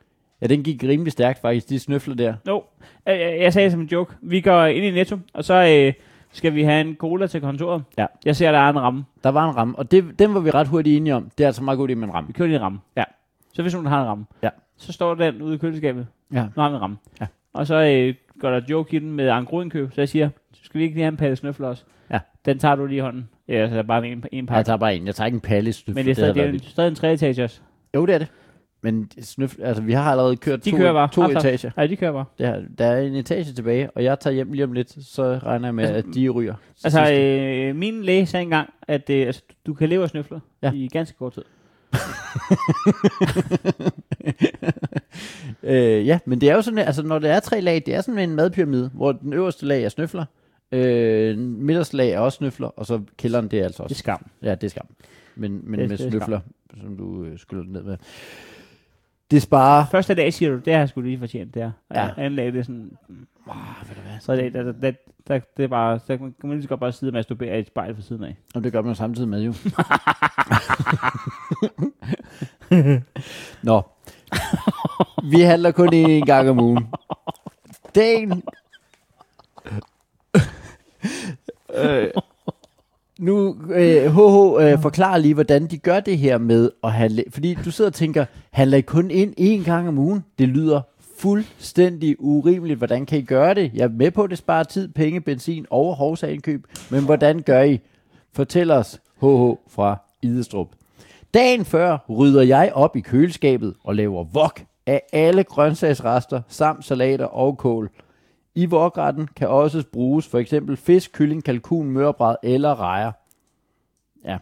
Speaker 3: Ja, den gik rimelig stærkt faktisk, de snøfler der.
Speaker 1: Jo, øh, jeg, jeg sagde som en joke. Vi går ind i Netto, og så øh, skal vi have en cola til kontoret.
Speaker 3: Ja.
Speaker 1: Jeg ser, der er en ramme.
Speaker 3: Der var en ramme, og det, den var vi ret hurtigt enige om. Det er altså meget godt det med en ramme.
Speaker 1: Vi kører lige en ramme.
Speaker 3: Ja.
Speaker 1: Så hvis nogen har en ramme,
Speaker 3: Ja.
Speaker 1: så står den ude i køleskabet.
Speaker 3: Ja.
Speaker 1: Nu har vi en ramme.
Speaker 3: Ja.
Speaker 1: Og så øh, går der joke i den med angroindkøb, så jeg siger, skal vi ikke lige have en palle snøfler også?
Speaker 3: Ja.
Speaker 1: Den tager du lige i hånden. Ja, altså der er bare en, en
Speaker 3: Ja, Jeg
Speaker 1: pakke.
Speaker 3: tager bare en. Jeg tager ikke en palle snøfler.
Speaker 1: Men det er
Speaker 3: havde
Speaker 1: stadig, det er
Speaker 3: været
Speaker 1: jo en,
Speaker 3: vildt.
Speaker 1: stadig en treetagers.
Speaker 3: Jo, det er det. Men snøfler, altså, vi har allerede kørt
Speaker 1: De
Speaker 3: to,
Speaker 1: kører bare. Altså.
Speaker 3: to
Speaker 1: Haps, haps.
Speaker 3: etager.
Speaker 1: Nej, de kører bare.
Speaker 3: Det her, der er en etage tilbage, og jeg tager hjem lige om lidt, så regner jeg med, altså,
Speaker 1: Altså,
Speaker 3: at de ryger. til
Speaker 1: Altså,
Speaker 3: sidst.
Speaker 1: øh, min læge sagde engang, at øh, altså, du kan leve af snøfler
Speaker 3: Ja.
Speaker 1: ja. i ganske kort tid.
Speaker 3: øh, ja, men det er jo sådan, altså når det er tre lag, det er sådan en madpyramide, hvor den øverste lag er snøfler, øh, midterste lag er også snøfler, og så kælderen, det er altså
Speaker 1: Det er
Speaker 3: også.
Speaker 1: skam.
Speaker 3: Ja, det er skam. Men, men
Speaker 1: Det er-
Speaker 3: med
Speaker 1: det er
Speaker 3: snøfler, som du øh, skyller den ned med. Det sparer...
Speaker 1: Første dag siger du, det har jeg skulle lige fortjent, det her. Og
Speaker 3: Ja.
Speaker 1: Anden dag, det er sådan, "Mm,
Speaker 3: Ah, ved du hvad?
Speaker 1: tredje dag, der, der, der, der, det er bare, der kan man lige så godt bare sidde og masturbere i et spejl for siden af.
Speaker 3: Og det gør man jo samtidig med, jo. Nå. Vi handler kun én gang om ugen. Dagen... øh, nu, øh, HH, øh, forklar lige, hvordan de gør det her med at handle. Fordi du sidder og tænker, handler I kun ind én gang om ugen? Det lyder fuldstændig urimeligt. Hvordan kan I gøre det? Jeg er med på, at det sparer tid, penge, benzin og hårdsagenkøb. Men hvordan gør I? Fortæl os, HH fra Idestrup. Dagen før rydder jeg op i køleskabet og laver vok af alle grøntsagsrester samt salater og kål. I vokretten kan også bruges for eksempel fisk, kylling, kalkun, mørbræd eller rejer. Ja.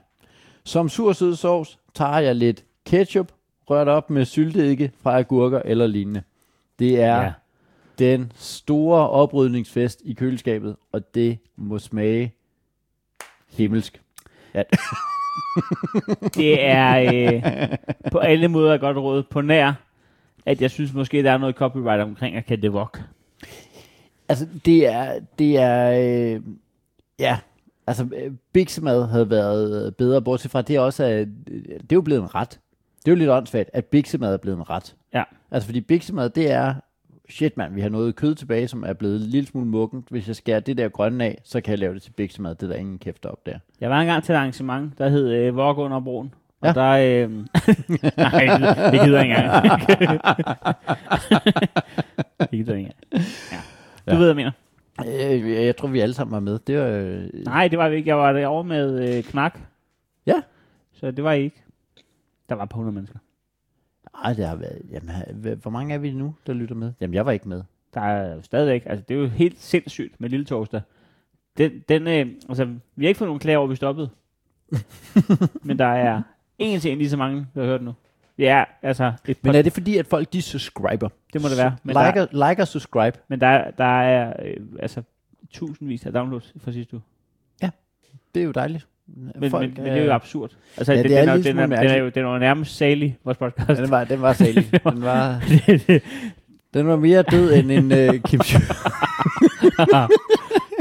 Speaker 3: Som sur sød sovs tager jeg lidt ketchup, rørt op med sylteeddike fra agurker eller lignende. Det er ja.
Speaker 1: Ja.
Speaker 3: den store oprydningsfest i køleskabet, og det må smage himmelsk.
Speaker 1: Det er øh, på alle måder et godt råd på nær, at jeg synes måske, der er noget copyright omkring at kalde det vok.
Speaker 3: Altså, det er, det er, øh, ja, altså, øh, biksemad havde været bedre, bortset fra, at det også er, det er jo blevet en ret. Det er jo lidt åndssvagt, at biksemad er blevet en ret.
Speaker 1: Ja.
Speaker 3: Altså, fordi biksemad, det er, shit mand, vi har noget kød tilbage, som er blevet en lille smule muggent. Hvis jeg skærer det der grønne af, så kan jeg lave det til biksemad. Det er der ingen kæft op der.
Speaker 1: Jeg var engang til et arrangement, der hed øh, Vok under broen. Og
Speaker 3: Ja.
Speaker 1: ja. der, øh, nej, det- det gider jeg ikke engang. det gider jeg ikke engang. Ja. Du
Speaker 3: Ja.
Speaker 1: ved, hvad jeg mener.
Speaker 3: Øh, jeg- jeg tror, vi alle sammen var med. Det var, øh,
Speaker 1: Nej, det var vi ikke. Jeg var derovre med øh, Knak.
Speaker 3: Ja.
Speaker 1: Så det var I ikke. Der var et par hundrede mennesker.
Speaker 3: ej, det har været, jamen, h- hvor mange er vi nu, der lytter med? Jamen, jeg var ikke med.
Speaker 1: Der er jo stadigvæk, altså det er jo helt sindssygt med Lille Torsdag. Den, den øh, altså vi har ikke fået nogen klager over, at vi stoppede. Men der er en til en lige så mange, der har hørt nu. Ja, altså et par,
Speaker 3: Men er det fordi, at folk de subscriber?
Speaker 1: det må det være. Men, der,
Speaker 3: Like, og- like og subscribe.
Speaker 1: men der, der er øh, altså tusindvis af downloads fra sidste uge.
Speaker 3: Det er jo dejligt. øh,
Speaker 1: Men, Folk, men, men det er jo absurd. Altså,
Speaker 3: Ja,
Speaker 1: ja, den,
Speaker 3: det er
Speaker 1: den, er,
Speaker 3: en
Speaker 1: jo-
Speaker 3: lille
Speaker 1: den, er, den,
Speaker 3: smule
Speaker 1: er, jo, den er jo nærmest salig, vores podcast.
Speaker 3: Ja, den var, den var salig. Den var, den var mere død end en uh, Kim Jong.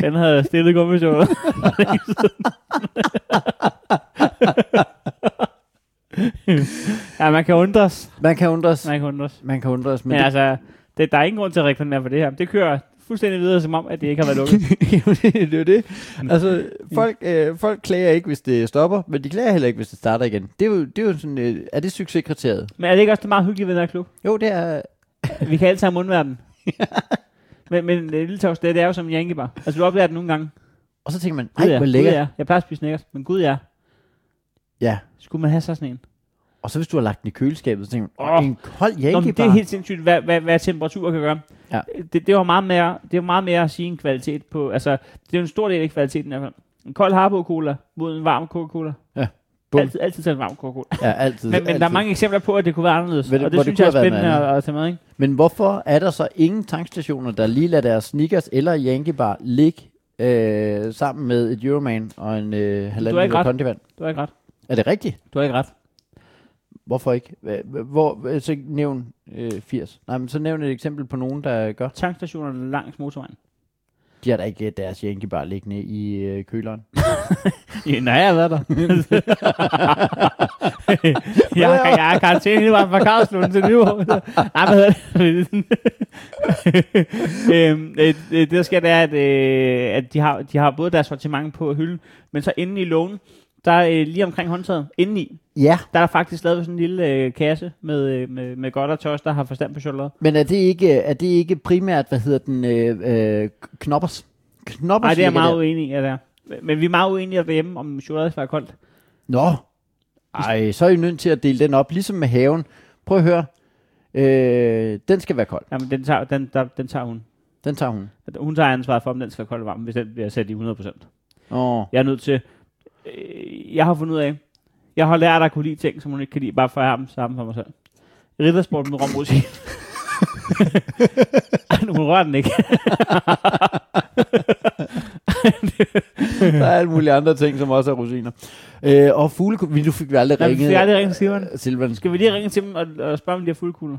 Speaker 1: den havde stillet gummishowet. ja, man kan undres.
Speaker 3: Man kan undres.
Speaker 1: Man kan undres.
Speaker 3: Man kan undres,
Speaker 1: Men,
Speaker 3: men
Speaker 1: men altså, det, der er ingen grund til at reklamere for det her. Det kører fuldstændig videre, som om, at det ikke har været lukket.
Speaker 3: Jamen, det det er jo det. Altså, folk, øh, folk klager ikke, hvis det stopper, men de klager heller ikke, hvis det starter igen. Det er jo, det er jo sådan, øh, er det succeskriteriet?
Speaker 1: Men er det ikke også det meget hyggelige ved den her klub?
Speaker 3: Jo, det er...
Speaker 1: Vi kan alle sammen undvære den. men, men øh, lille tors, det, det er jo som en jankebar. Altså, du oplever den nogle gange.
Speaker 3: Og så tænker man,
Speaker 1: Gud,
Speaker 3: ej,
Speaker 1: ja,
Speaker 3: hvor
Speaker 1: gud,
Speaker 3: lækkert.
Speaker 1: ja. Jeg plejer at spise snickers, men gud ja.
Speaker 3: Ja.
Speaker 1: Skulle man have så sådan en?
Speaker 3: Og så hvis du har lagt den i køleskabet, så tænker man,
Speaker 1: Åh.
Speaker 3: åh, en kold
Speaker 1: Nå, men
Speaker 3: jænkebar.
Speaker 1: det er helt sindssygt, hvad, hvad, hvad temperatur kan gøre.
Speaker 3: Ja.
Speaker 1: Det, det, var meget mere, det var meget mere at sige en kvalitet på... Altså, det er jo en stor del af kvaliteten i hvert fald. En kold Harbo-cola mod en varm Coca-Cola.
Speaker 3: Ja. Bum.
Speaker 1: Altid, altid tage en varm Coca-Cola.
Speaker 3: Ja, altid.
Speaker 1: Men, men
Speaker 3: altid.
Speaker 1: der er mange eksempler på, at det kunne være anderledes.
Speaker 3: Men
Speaker 1: Men,
Speaker 3: det-
Speaker 1: og
Speaker 3: hvor
Speaker 1: det
Speaker 3: det
Speaker 1: synes jeg er
Speaker 3: kunne have været
Speaker 1: spændende
Speaker 3: en
Speaker 1: at, at tage med, ikke?
Speaker 3: men hvorfor er der så ingen tankstationer, der lige lader deres sneakers eller jænkebar ligge øh, sammen med et Euroman og en øh, halvanden
Speaker 1: ikke
Speaker 3: liter
Speaker 1: ret.
Speaker 3: kondivand?
Speaker 1: Du har ikke ret.
Speaker 3: Er det rigtigt?
Speaker 1: Du har ikke ret.
Speaker 3: Hvorfor ikke? Hva- hva- Hvor, så nævn øh, 80. Nej, men så nævn et eksempel på nogen, der gør.
Speaker 1: Tankstationerne langs motorvejen.
Speaker 3: De har da ikke øh, deres jænkebar liggende i øh, køleren.
Speaker 1: Ja, nej, jeg har været der. jeg, har, jeg har karantæne hele vejen fra Karlslund til Nyborg. Nej, hvad hedder det? øhm, øh, øh, det, der sker, det er, at, øh, at de, har, de har både deres sortiment på hylden, men så inde i lågen, der er øh, lige omkring håndtaget, inde i,
Speaker 3: Ja,
Speaker 1: der er der faktisk lavet sådan en lille øh, kasse med, øh, med, med godt og tørs, der har forstand på chokolade.
Speaker 3: men er det ikke, øh, er det ikke primært, hvad hedder den, øh, øh, knoppers? Knoppers
Speaker 1: Nej, det er jeg
Speaker 3: ligger
Speaker 1: meget
Speaker 3: der.
Speaker 1: uenig i, at det er. Men- Men vi er meget uenige derhjemme, om chokolade skal være koldt.
Speaker 3: Nå, ej, så er I nødt til at dele den op, ligesom med haven. Prøv at høre, øh, den skal være kold.
Speaker 1: Jamen, den tager, den, der, den tager hun.
Speaker 3: Den tager hun.
Speaker 1: At Hun tager ansvaret for, om den skal være kold eller varm, hvis den bliver sat i 100%.
Speaker 3: Åh,
Speaker 1: Jeg er nødt til... Øh, jeg har fundet ud af... Jeg har lært at kunne lide ting, som hun ikke kan lide, bare for at have dem sammen for mig selv. Riddersport med romrusin. Ej, nu rører den ikke.
Speaker 3: der er alle mulige andre ting, som også er rosiner. Øh, og fuglekugler, vi- nu fik vi aldrig
Speaker 1: Nå, vi
Speaker 3: ringet.
Speaker 1: skal aldrig ringe til Simon.
Speaker 3: Silvan.
Speaker 1: Skal vi lige ringe til dem og, og spørge, om de har fuldkugler?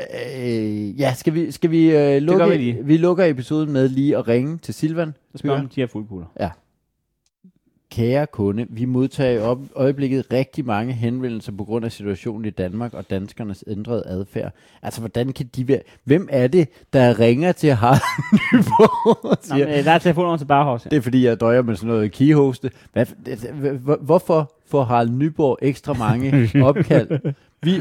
Speaker 3: Øh, ja, skal vi, skal vi øh, lukke?
Speaker 1: gør vi lige.
Speaker 3: vi lukker episoden med lige at ringe til Silvan.
Speaker 1: Og spørge,
Speaker 3: Høre.
Speaker 1: om de har fuldkugler.
Speaker 3: Kære kunde, vi modtager i op- øjeblikket rigtig mange henvendelser på grund af situationen i Danmark og danskernes ændrede adfærd. Altså, hvordan kan de være... Hvem er det, der ringer til Harald Nyborg og
Speaker 1: Nå,
Speaker 3: siger,
Speaker 1: men, øh, der er telefonen til Barhus.
Speaker 3: det er fordi, jeg døjer med sådan noget keyhoste. Hvad, det- det- hvor- hvorfor får Harald Nyborg ekstra mange opkald? Vi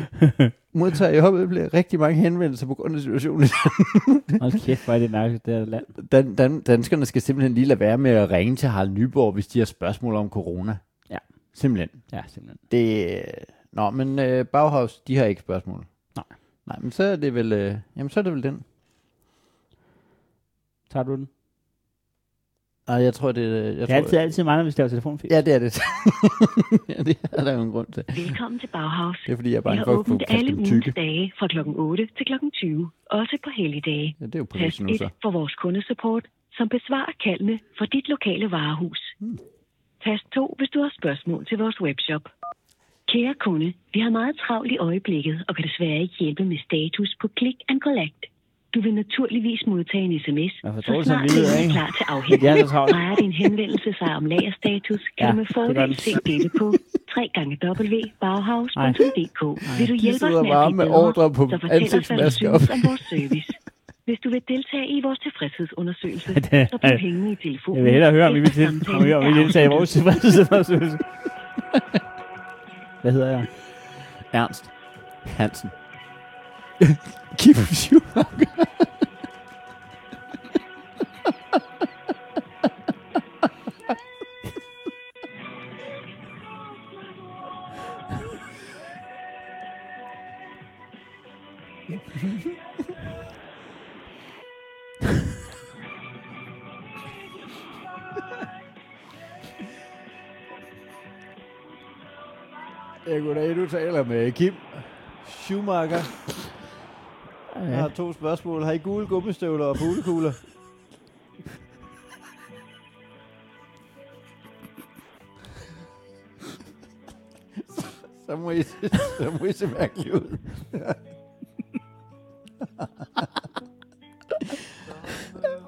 Speaker 3: modtager i øjeblikket rigtig mange henvendelser på grund af situationen i
Speaker 1: Hold kæft, hvor er det mærkeligt, det her land.
Speaker 3: Dan, dan, danskerne skal simpelthen lige lade være med at ringe til Harald Nyborg, hvis de har spørgsmål om corona.
Speaker 1: Ja.
Speaker 3: Simpelthen.
Speaker 1: Ja, simpelthen.
Speaker 3: Det, øh, nå, men øh, Bauhaus, de har ikke spørgsmål.
Speaker 1: Nej.
Speaker 3: Nej, men så er det vel, øh, jamen, så er det vel den.
Speaker 1: Tager du den?
Speaker 3: Nej, jeg tror, det, øh, jeg
Speaker 1: Det er
Speaker 3: tror,
Speaker 1: altid, altid mig, hvis det er telefonfilm.
Speaker 3: Ja, det er det. ja, det er der jo en grund til.
Speaker 6: Velkommen til Bauhaus.
Speaker 3: Det er fordi, jeg er
Speaker 6: Vi
Speaker 3: bange
Speaker 6: har
Speaker 3: for at få
Speaker 6: åbent alle
Speaker 3: kastet
Speaker 6: ugens
Speaker 3: tykke.
Speaker 6: dage fra kl. 8 til kl. 20, også på helligdage.
Speaker 3: Ja, det er jo på
Speaker 6: Tast
Speaker 3: nu så.
Speaker 6: 1 for vores kundesupport, som besvarer kaldene for dit lokale varehus.
Speaker 3: Hmm.
Speaker 6: Tast 2, hvis du har spørgsmål til vores webshop. Kære kunde, vi har meget travlt i øjeblikket og kan desværre ikke hjælpe med status på Click and Collect. Du vil naturligvis modtage en sms,
Speaker 1: Ja, for
Speaker 6: så
Speaker 1: dårligt, så
Speaker 6: snart
Speaker 1: vi ved,
Speaker 6: den er
Speaker 1: ikke?
Speaker 6: klar til
Speaker 1: Det er
Speaker 6: afhængig.
Speaker 1: så travlt.
Speaker 6: Drejer din henvendelse sig om lagerstatus, kan
Speaker 1: Ja,
Speaker 6: du med
Speaker 1: det gør
Speaker 6: fordel
Speaker 1: den.
Speaker 6: se dette på www.bauhaus.dk. Vil du hjælpe
Speaker 3: sidder
Speaker 6: os med
Speaker 3: bare
Speaker 6: at blive
Speaker 3: med
Speaker 6: bedre,
Speaker 3: ordre på
Speaker 6: så fortæl os, hvad du
Speaker 3: ansigtsmasker
Speaker 6: synes
Speaker 3: op.
Speaker 6: om vores service. Hvis du vil deltage i vores tilfredshedsundersøgelse,
Speaker 1: Det-
Speaker 6: så bliv hængende i telefonen.
Speaker 1: Jeg vil hellere høre, om I vil,
Speaker 6: efter
Speaker 1: til, om I,
Speaker 6: samtalen
Speaker 1: om I
Speaker 6: er
Speaker 1: vil deltage i vores
Speaker 6: afsluttet.
Speaker 1: tilfredshedsundersøgelse. Hvad hedder jeg?
Speaker 3: Ernst Hansen. Kim Schumacher. Ja, goddag, du taler med Kim Schumacher. Jeg har to spørgsmål. Har I gule gummistøvler og fuglekugler? så, må I, så må I se mærkeligt ud.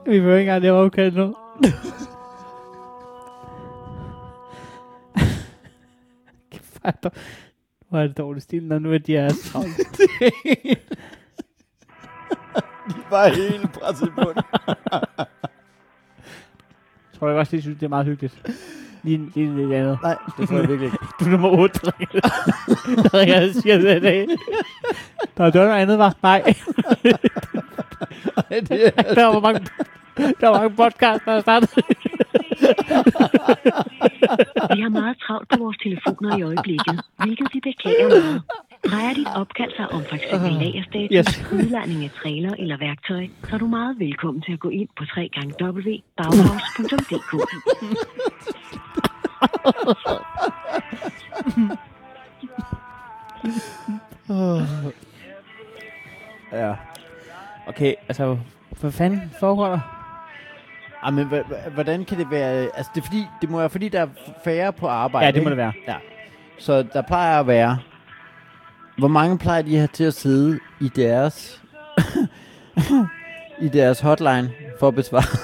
Speaker 1: Vi behøver ikke engang det opkaldt nu. Kæft, hvor er det dår- Hvor er det dårlig stil, når nu er de er travlt.
Speaker 3: Bare hele presset på den.
Speaker 1: Tror jeg også, de synes, det er meget hyggeligt. Lige, lige lidt andet.
Speaker 3: Nej, det tror jeg virkelig ikke.
Speaker 1: Du er nummer 8, der ringer. der ringer og siger det i dag. Der er dør noget andet, var. Nej,
Speaker 3: Nej, det er
Speaker 1: der var mange, der var mange podcasts, der er startet.
Speaker 6: Vi har meget travlt på vores telefoner i øjeblikket, hvilket vi beklager meget. Drejer dit opkald sig om f.eks. lagerstatus,
Speaker 1: Yes.
Speaker 6: yes. udlejning af trailer eller værktøj, så er du meget velkommen til at gå ind på www.bauhaus.dk.
Speaker 3: Ja.
Speaker 1: Okay, altså, hvad fanden foregår der?
Speaker 3: Ah, men hva- hva- hvordan kan det være? Altså, det er fordi, det må være, fordi der er færre på arbejde.
Speaker 1: Ja, det må
Speaker 3: ikke?
Speaker 1: det være.
Speaker 3: Ja. Så der plejer at være... Hvor mange plejer de her til at sidde i deres... i deres hotline for at besvare?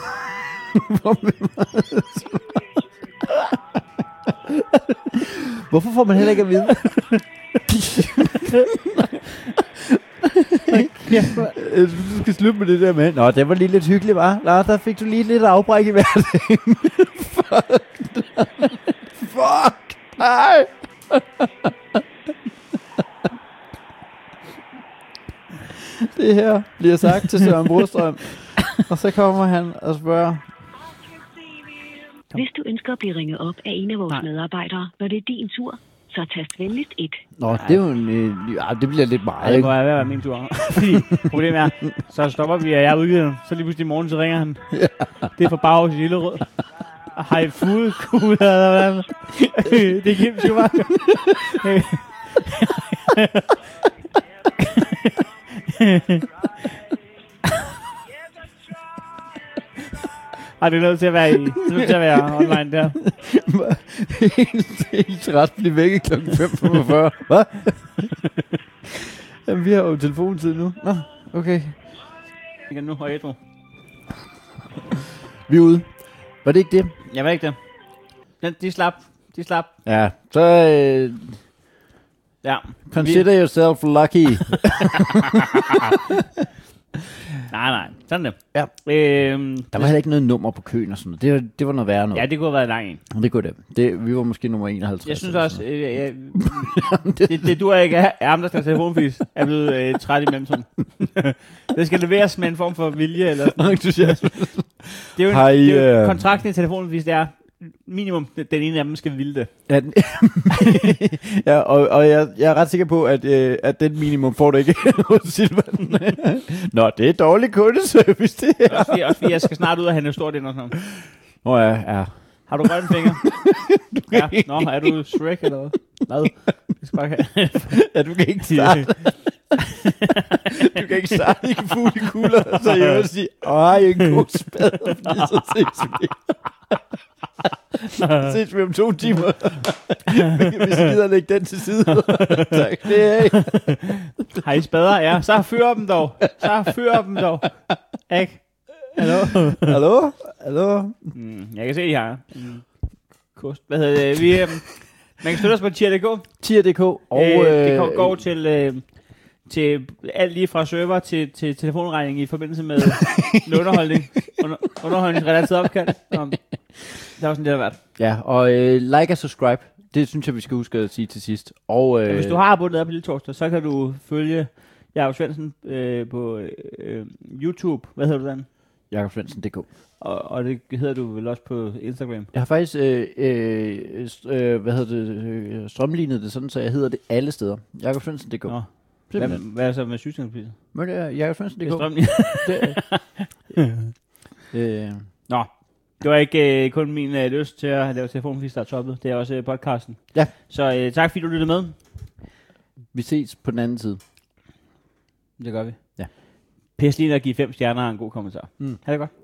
Speaker 3: For at besvare- Hvorfor får man heller ikke at vide? Øh, Du skal slutte med det der med. Nå, det var lige lidt hyggeligt, var. Lars, der fik du lige lidt afbræk i hverdagen. Fuck. Fuck. Nej. Det her bliver sagt til Søren Brostrøm. Og så kommer han og spørger.
Speaker 6: Hvis du ønsker at blive ringet op af en af vores
Speaker 1: Nej.
Speaker 6: medarbejdere, når det er din tur, så tast venligst 1.
Speaker 3: Nå, det er jo en... Øh, ja, det bliver lidt
Speaker 1: Ej, det
Speaker 3: meget,
Speaker 1: må
Speaker 3: ikke?
Speaker 1: være ved at være min tur. Fordi problemet er, så stopper vi, og jeg er udgivet. Så lige pludselig i morgen, så ringer han. Det er fra Baghaus i Lillerød. Har I fuglekugler eller hvad? Øh, det er Kim Schumacher. Øh. Ej, det er nødt til at være, i, det er nødt til at være online der.
Speaker 3: helt, helt træt, blive vækket kl. 5.45. Hvad? Jamen, vi har jo telefontid nu. Nå, okay.
Speaker 1: Igen nu, og Edro.
Speaker 3: Vi er ude. Var det ikke det?
Speaker 1: Jeg ved ikke det. Den, de slap. De slap.
Speaker 3: Ja. Så øh,
Speaker 1: Ja.
Speaker 3: consider yourself lucky.
Speaker 1: Nej, nej. Sådan det.
Speaker 3: Ja.
Speaker 1: Øhm,
Speaker 3: Der var heller ikke noget nummer på køen og sådan noget. Det, var- det var noget værre noget.
Speaker 1: ja, det kunne have været en lang en.
Speaker 3: Det kunne det. det. Vi var måske nummer 51.
Speaker 1: Jeg synes
Speaker 3: eller
Speaker 1: også,
Speaker 3: sådan
Speaker 1: øh, øh,
Speaker 3: noget.
Speaker 1: det, det du ikke er, er ham, der skal have telefonfis, er blevet øh, træt i mellemtiden. det skal leveres med en form for vilje. Eller, sådan.
Speaker 3: entusiasme.
Speaker 1: det er jo en,
Speaker 3: Har I,
Speaker 1: det er jo,
Speaker 3: øh,
Speaker 1: kontrakten i telefonfis, det er minimum, den ene af dem skal ville det.
Speaker 3: Ja, den- ja, og, og jeg, jeg er ret sikker på, at, øh, at den minimum får du ikke hos Silvan. Nå, det er dårlig kundeservice, det her.
Speaker 1: Også fordi, også fordi jeg skal snart ud og handle stort ind og sådan noget.
Speaker 3: Nå ja, ja.
Speaker 1: Har du grønne fingre? ja. Nå, er du Shrek eller hvad? Hvad? Det skal bare ikke have.
Speaker 3: ja du kan ikke starte. Du kan ikke starte i fuglekugler, og så i øvrigt sige, åh, jeg er en god spad, fordi så ses vi. Så ses vi om to timer. Hvis I gider lægge den til side. tak, det er jeg.
Speaker 1: Har I spader? Ja, så fyr dem dog. Så fyr dem dog. Ikke? Hallo?
Speaker 3: Hallo? Hallo?
Speaker 1: Mm, jeg kan se, de har mm. kost. Hvad hedder det? Vi, øhm, man kan støtte os på tier.dk.
Speaker 3: Tier.dk og...
Speaker 1: Og, øh, det går- går til, øh, til alt lige fra server til, til telefonregning i forbindelse med en underholdning. Under, underholdningsrelateret opkald. Nå, Der var sådan det, der været.
Speaker 3: Ja, og øh, like og subscribe. Det synes jeg, vi skal huske at sige til sidst. Og, øh,
Speaker 1: Hvis du har abonneret på Lille Torsdag, så kan du følge Jakob Svendsen øh, på øh, øh, YouTube. Hvad hedder du den?
Speaker 3: Jakob Svendsen.dk.
Speaker 1: Og, og det hedder du vel også på Instagram.
Speaker 3: Jeg har faktisk, øh, øh, st- øh, hvad hedder det, øh, strømlignet det sådan, så jeg hedder det alle steder. Jakob Svendsen.dk.
Speaker 1: Nå. Hvad,
Speaker 3: Simpelthen.
Speaker 1: hvad er så med sygdomspizza?
Speaker 3: Men det er Jakob Svendsen.dk.
Speaker 1: Det er strømmen.
Speaker 3: Øh,
Speaker 1: Nå, det var ikke øh, kun min øh, lyst til at lave telefonfis, der er toppet. Det er også øh, podcasten.
Speaker 3: Ja.
Speaker 1: Så øh, tak fordi du lyttede med.
Speaker 3: Vi ses på den anden side.
Speaker 1: Det gør vi.
Speaker 3: Ja.
Speaker 1: Pisse lige at give fem stjerner og en god kommentar. Mm. Ha' det godt.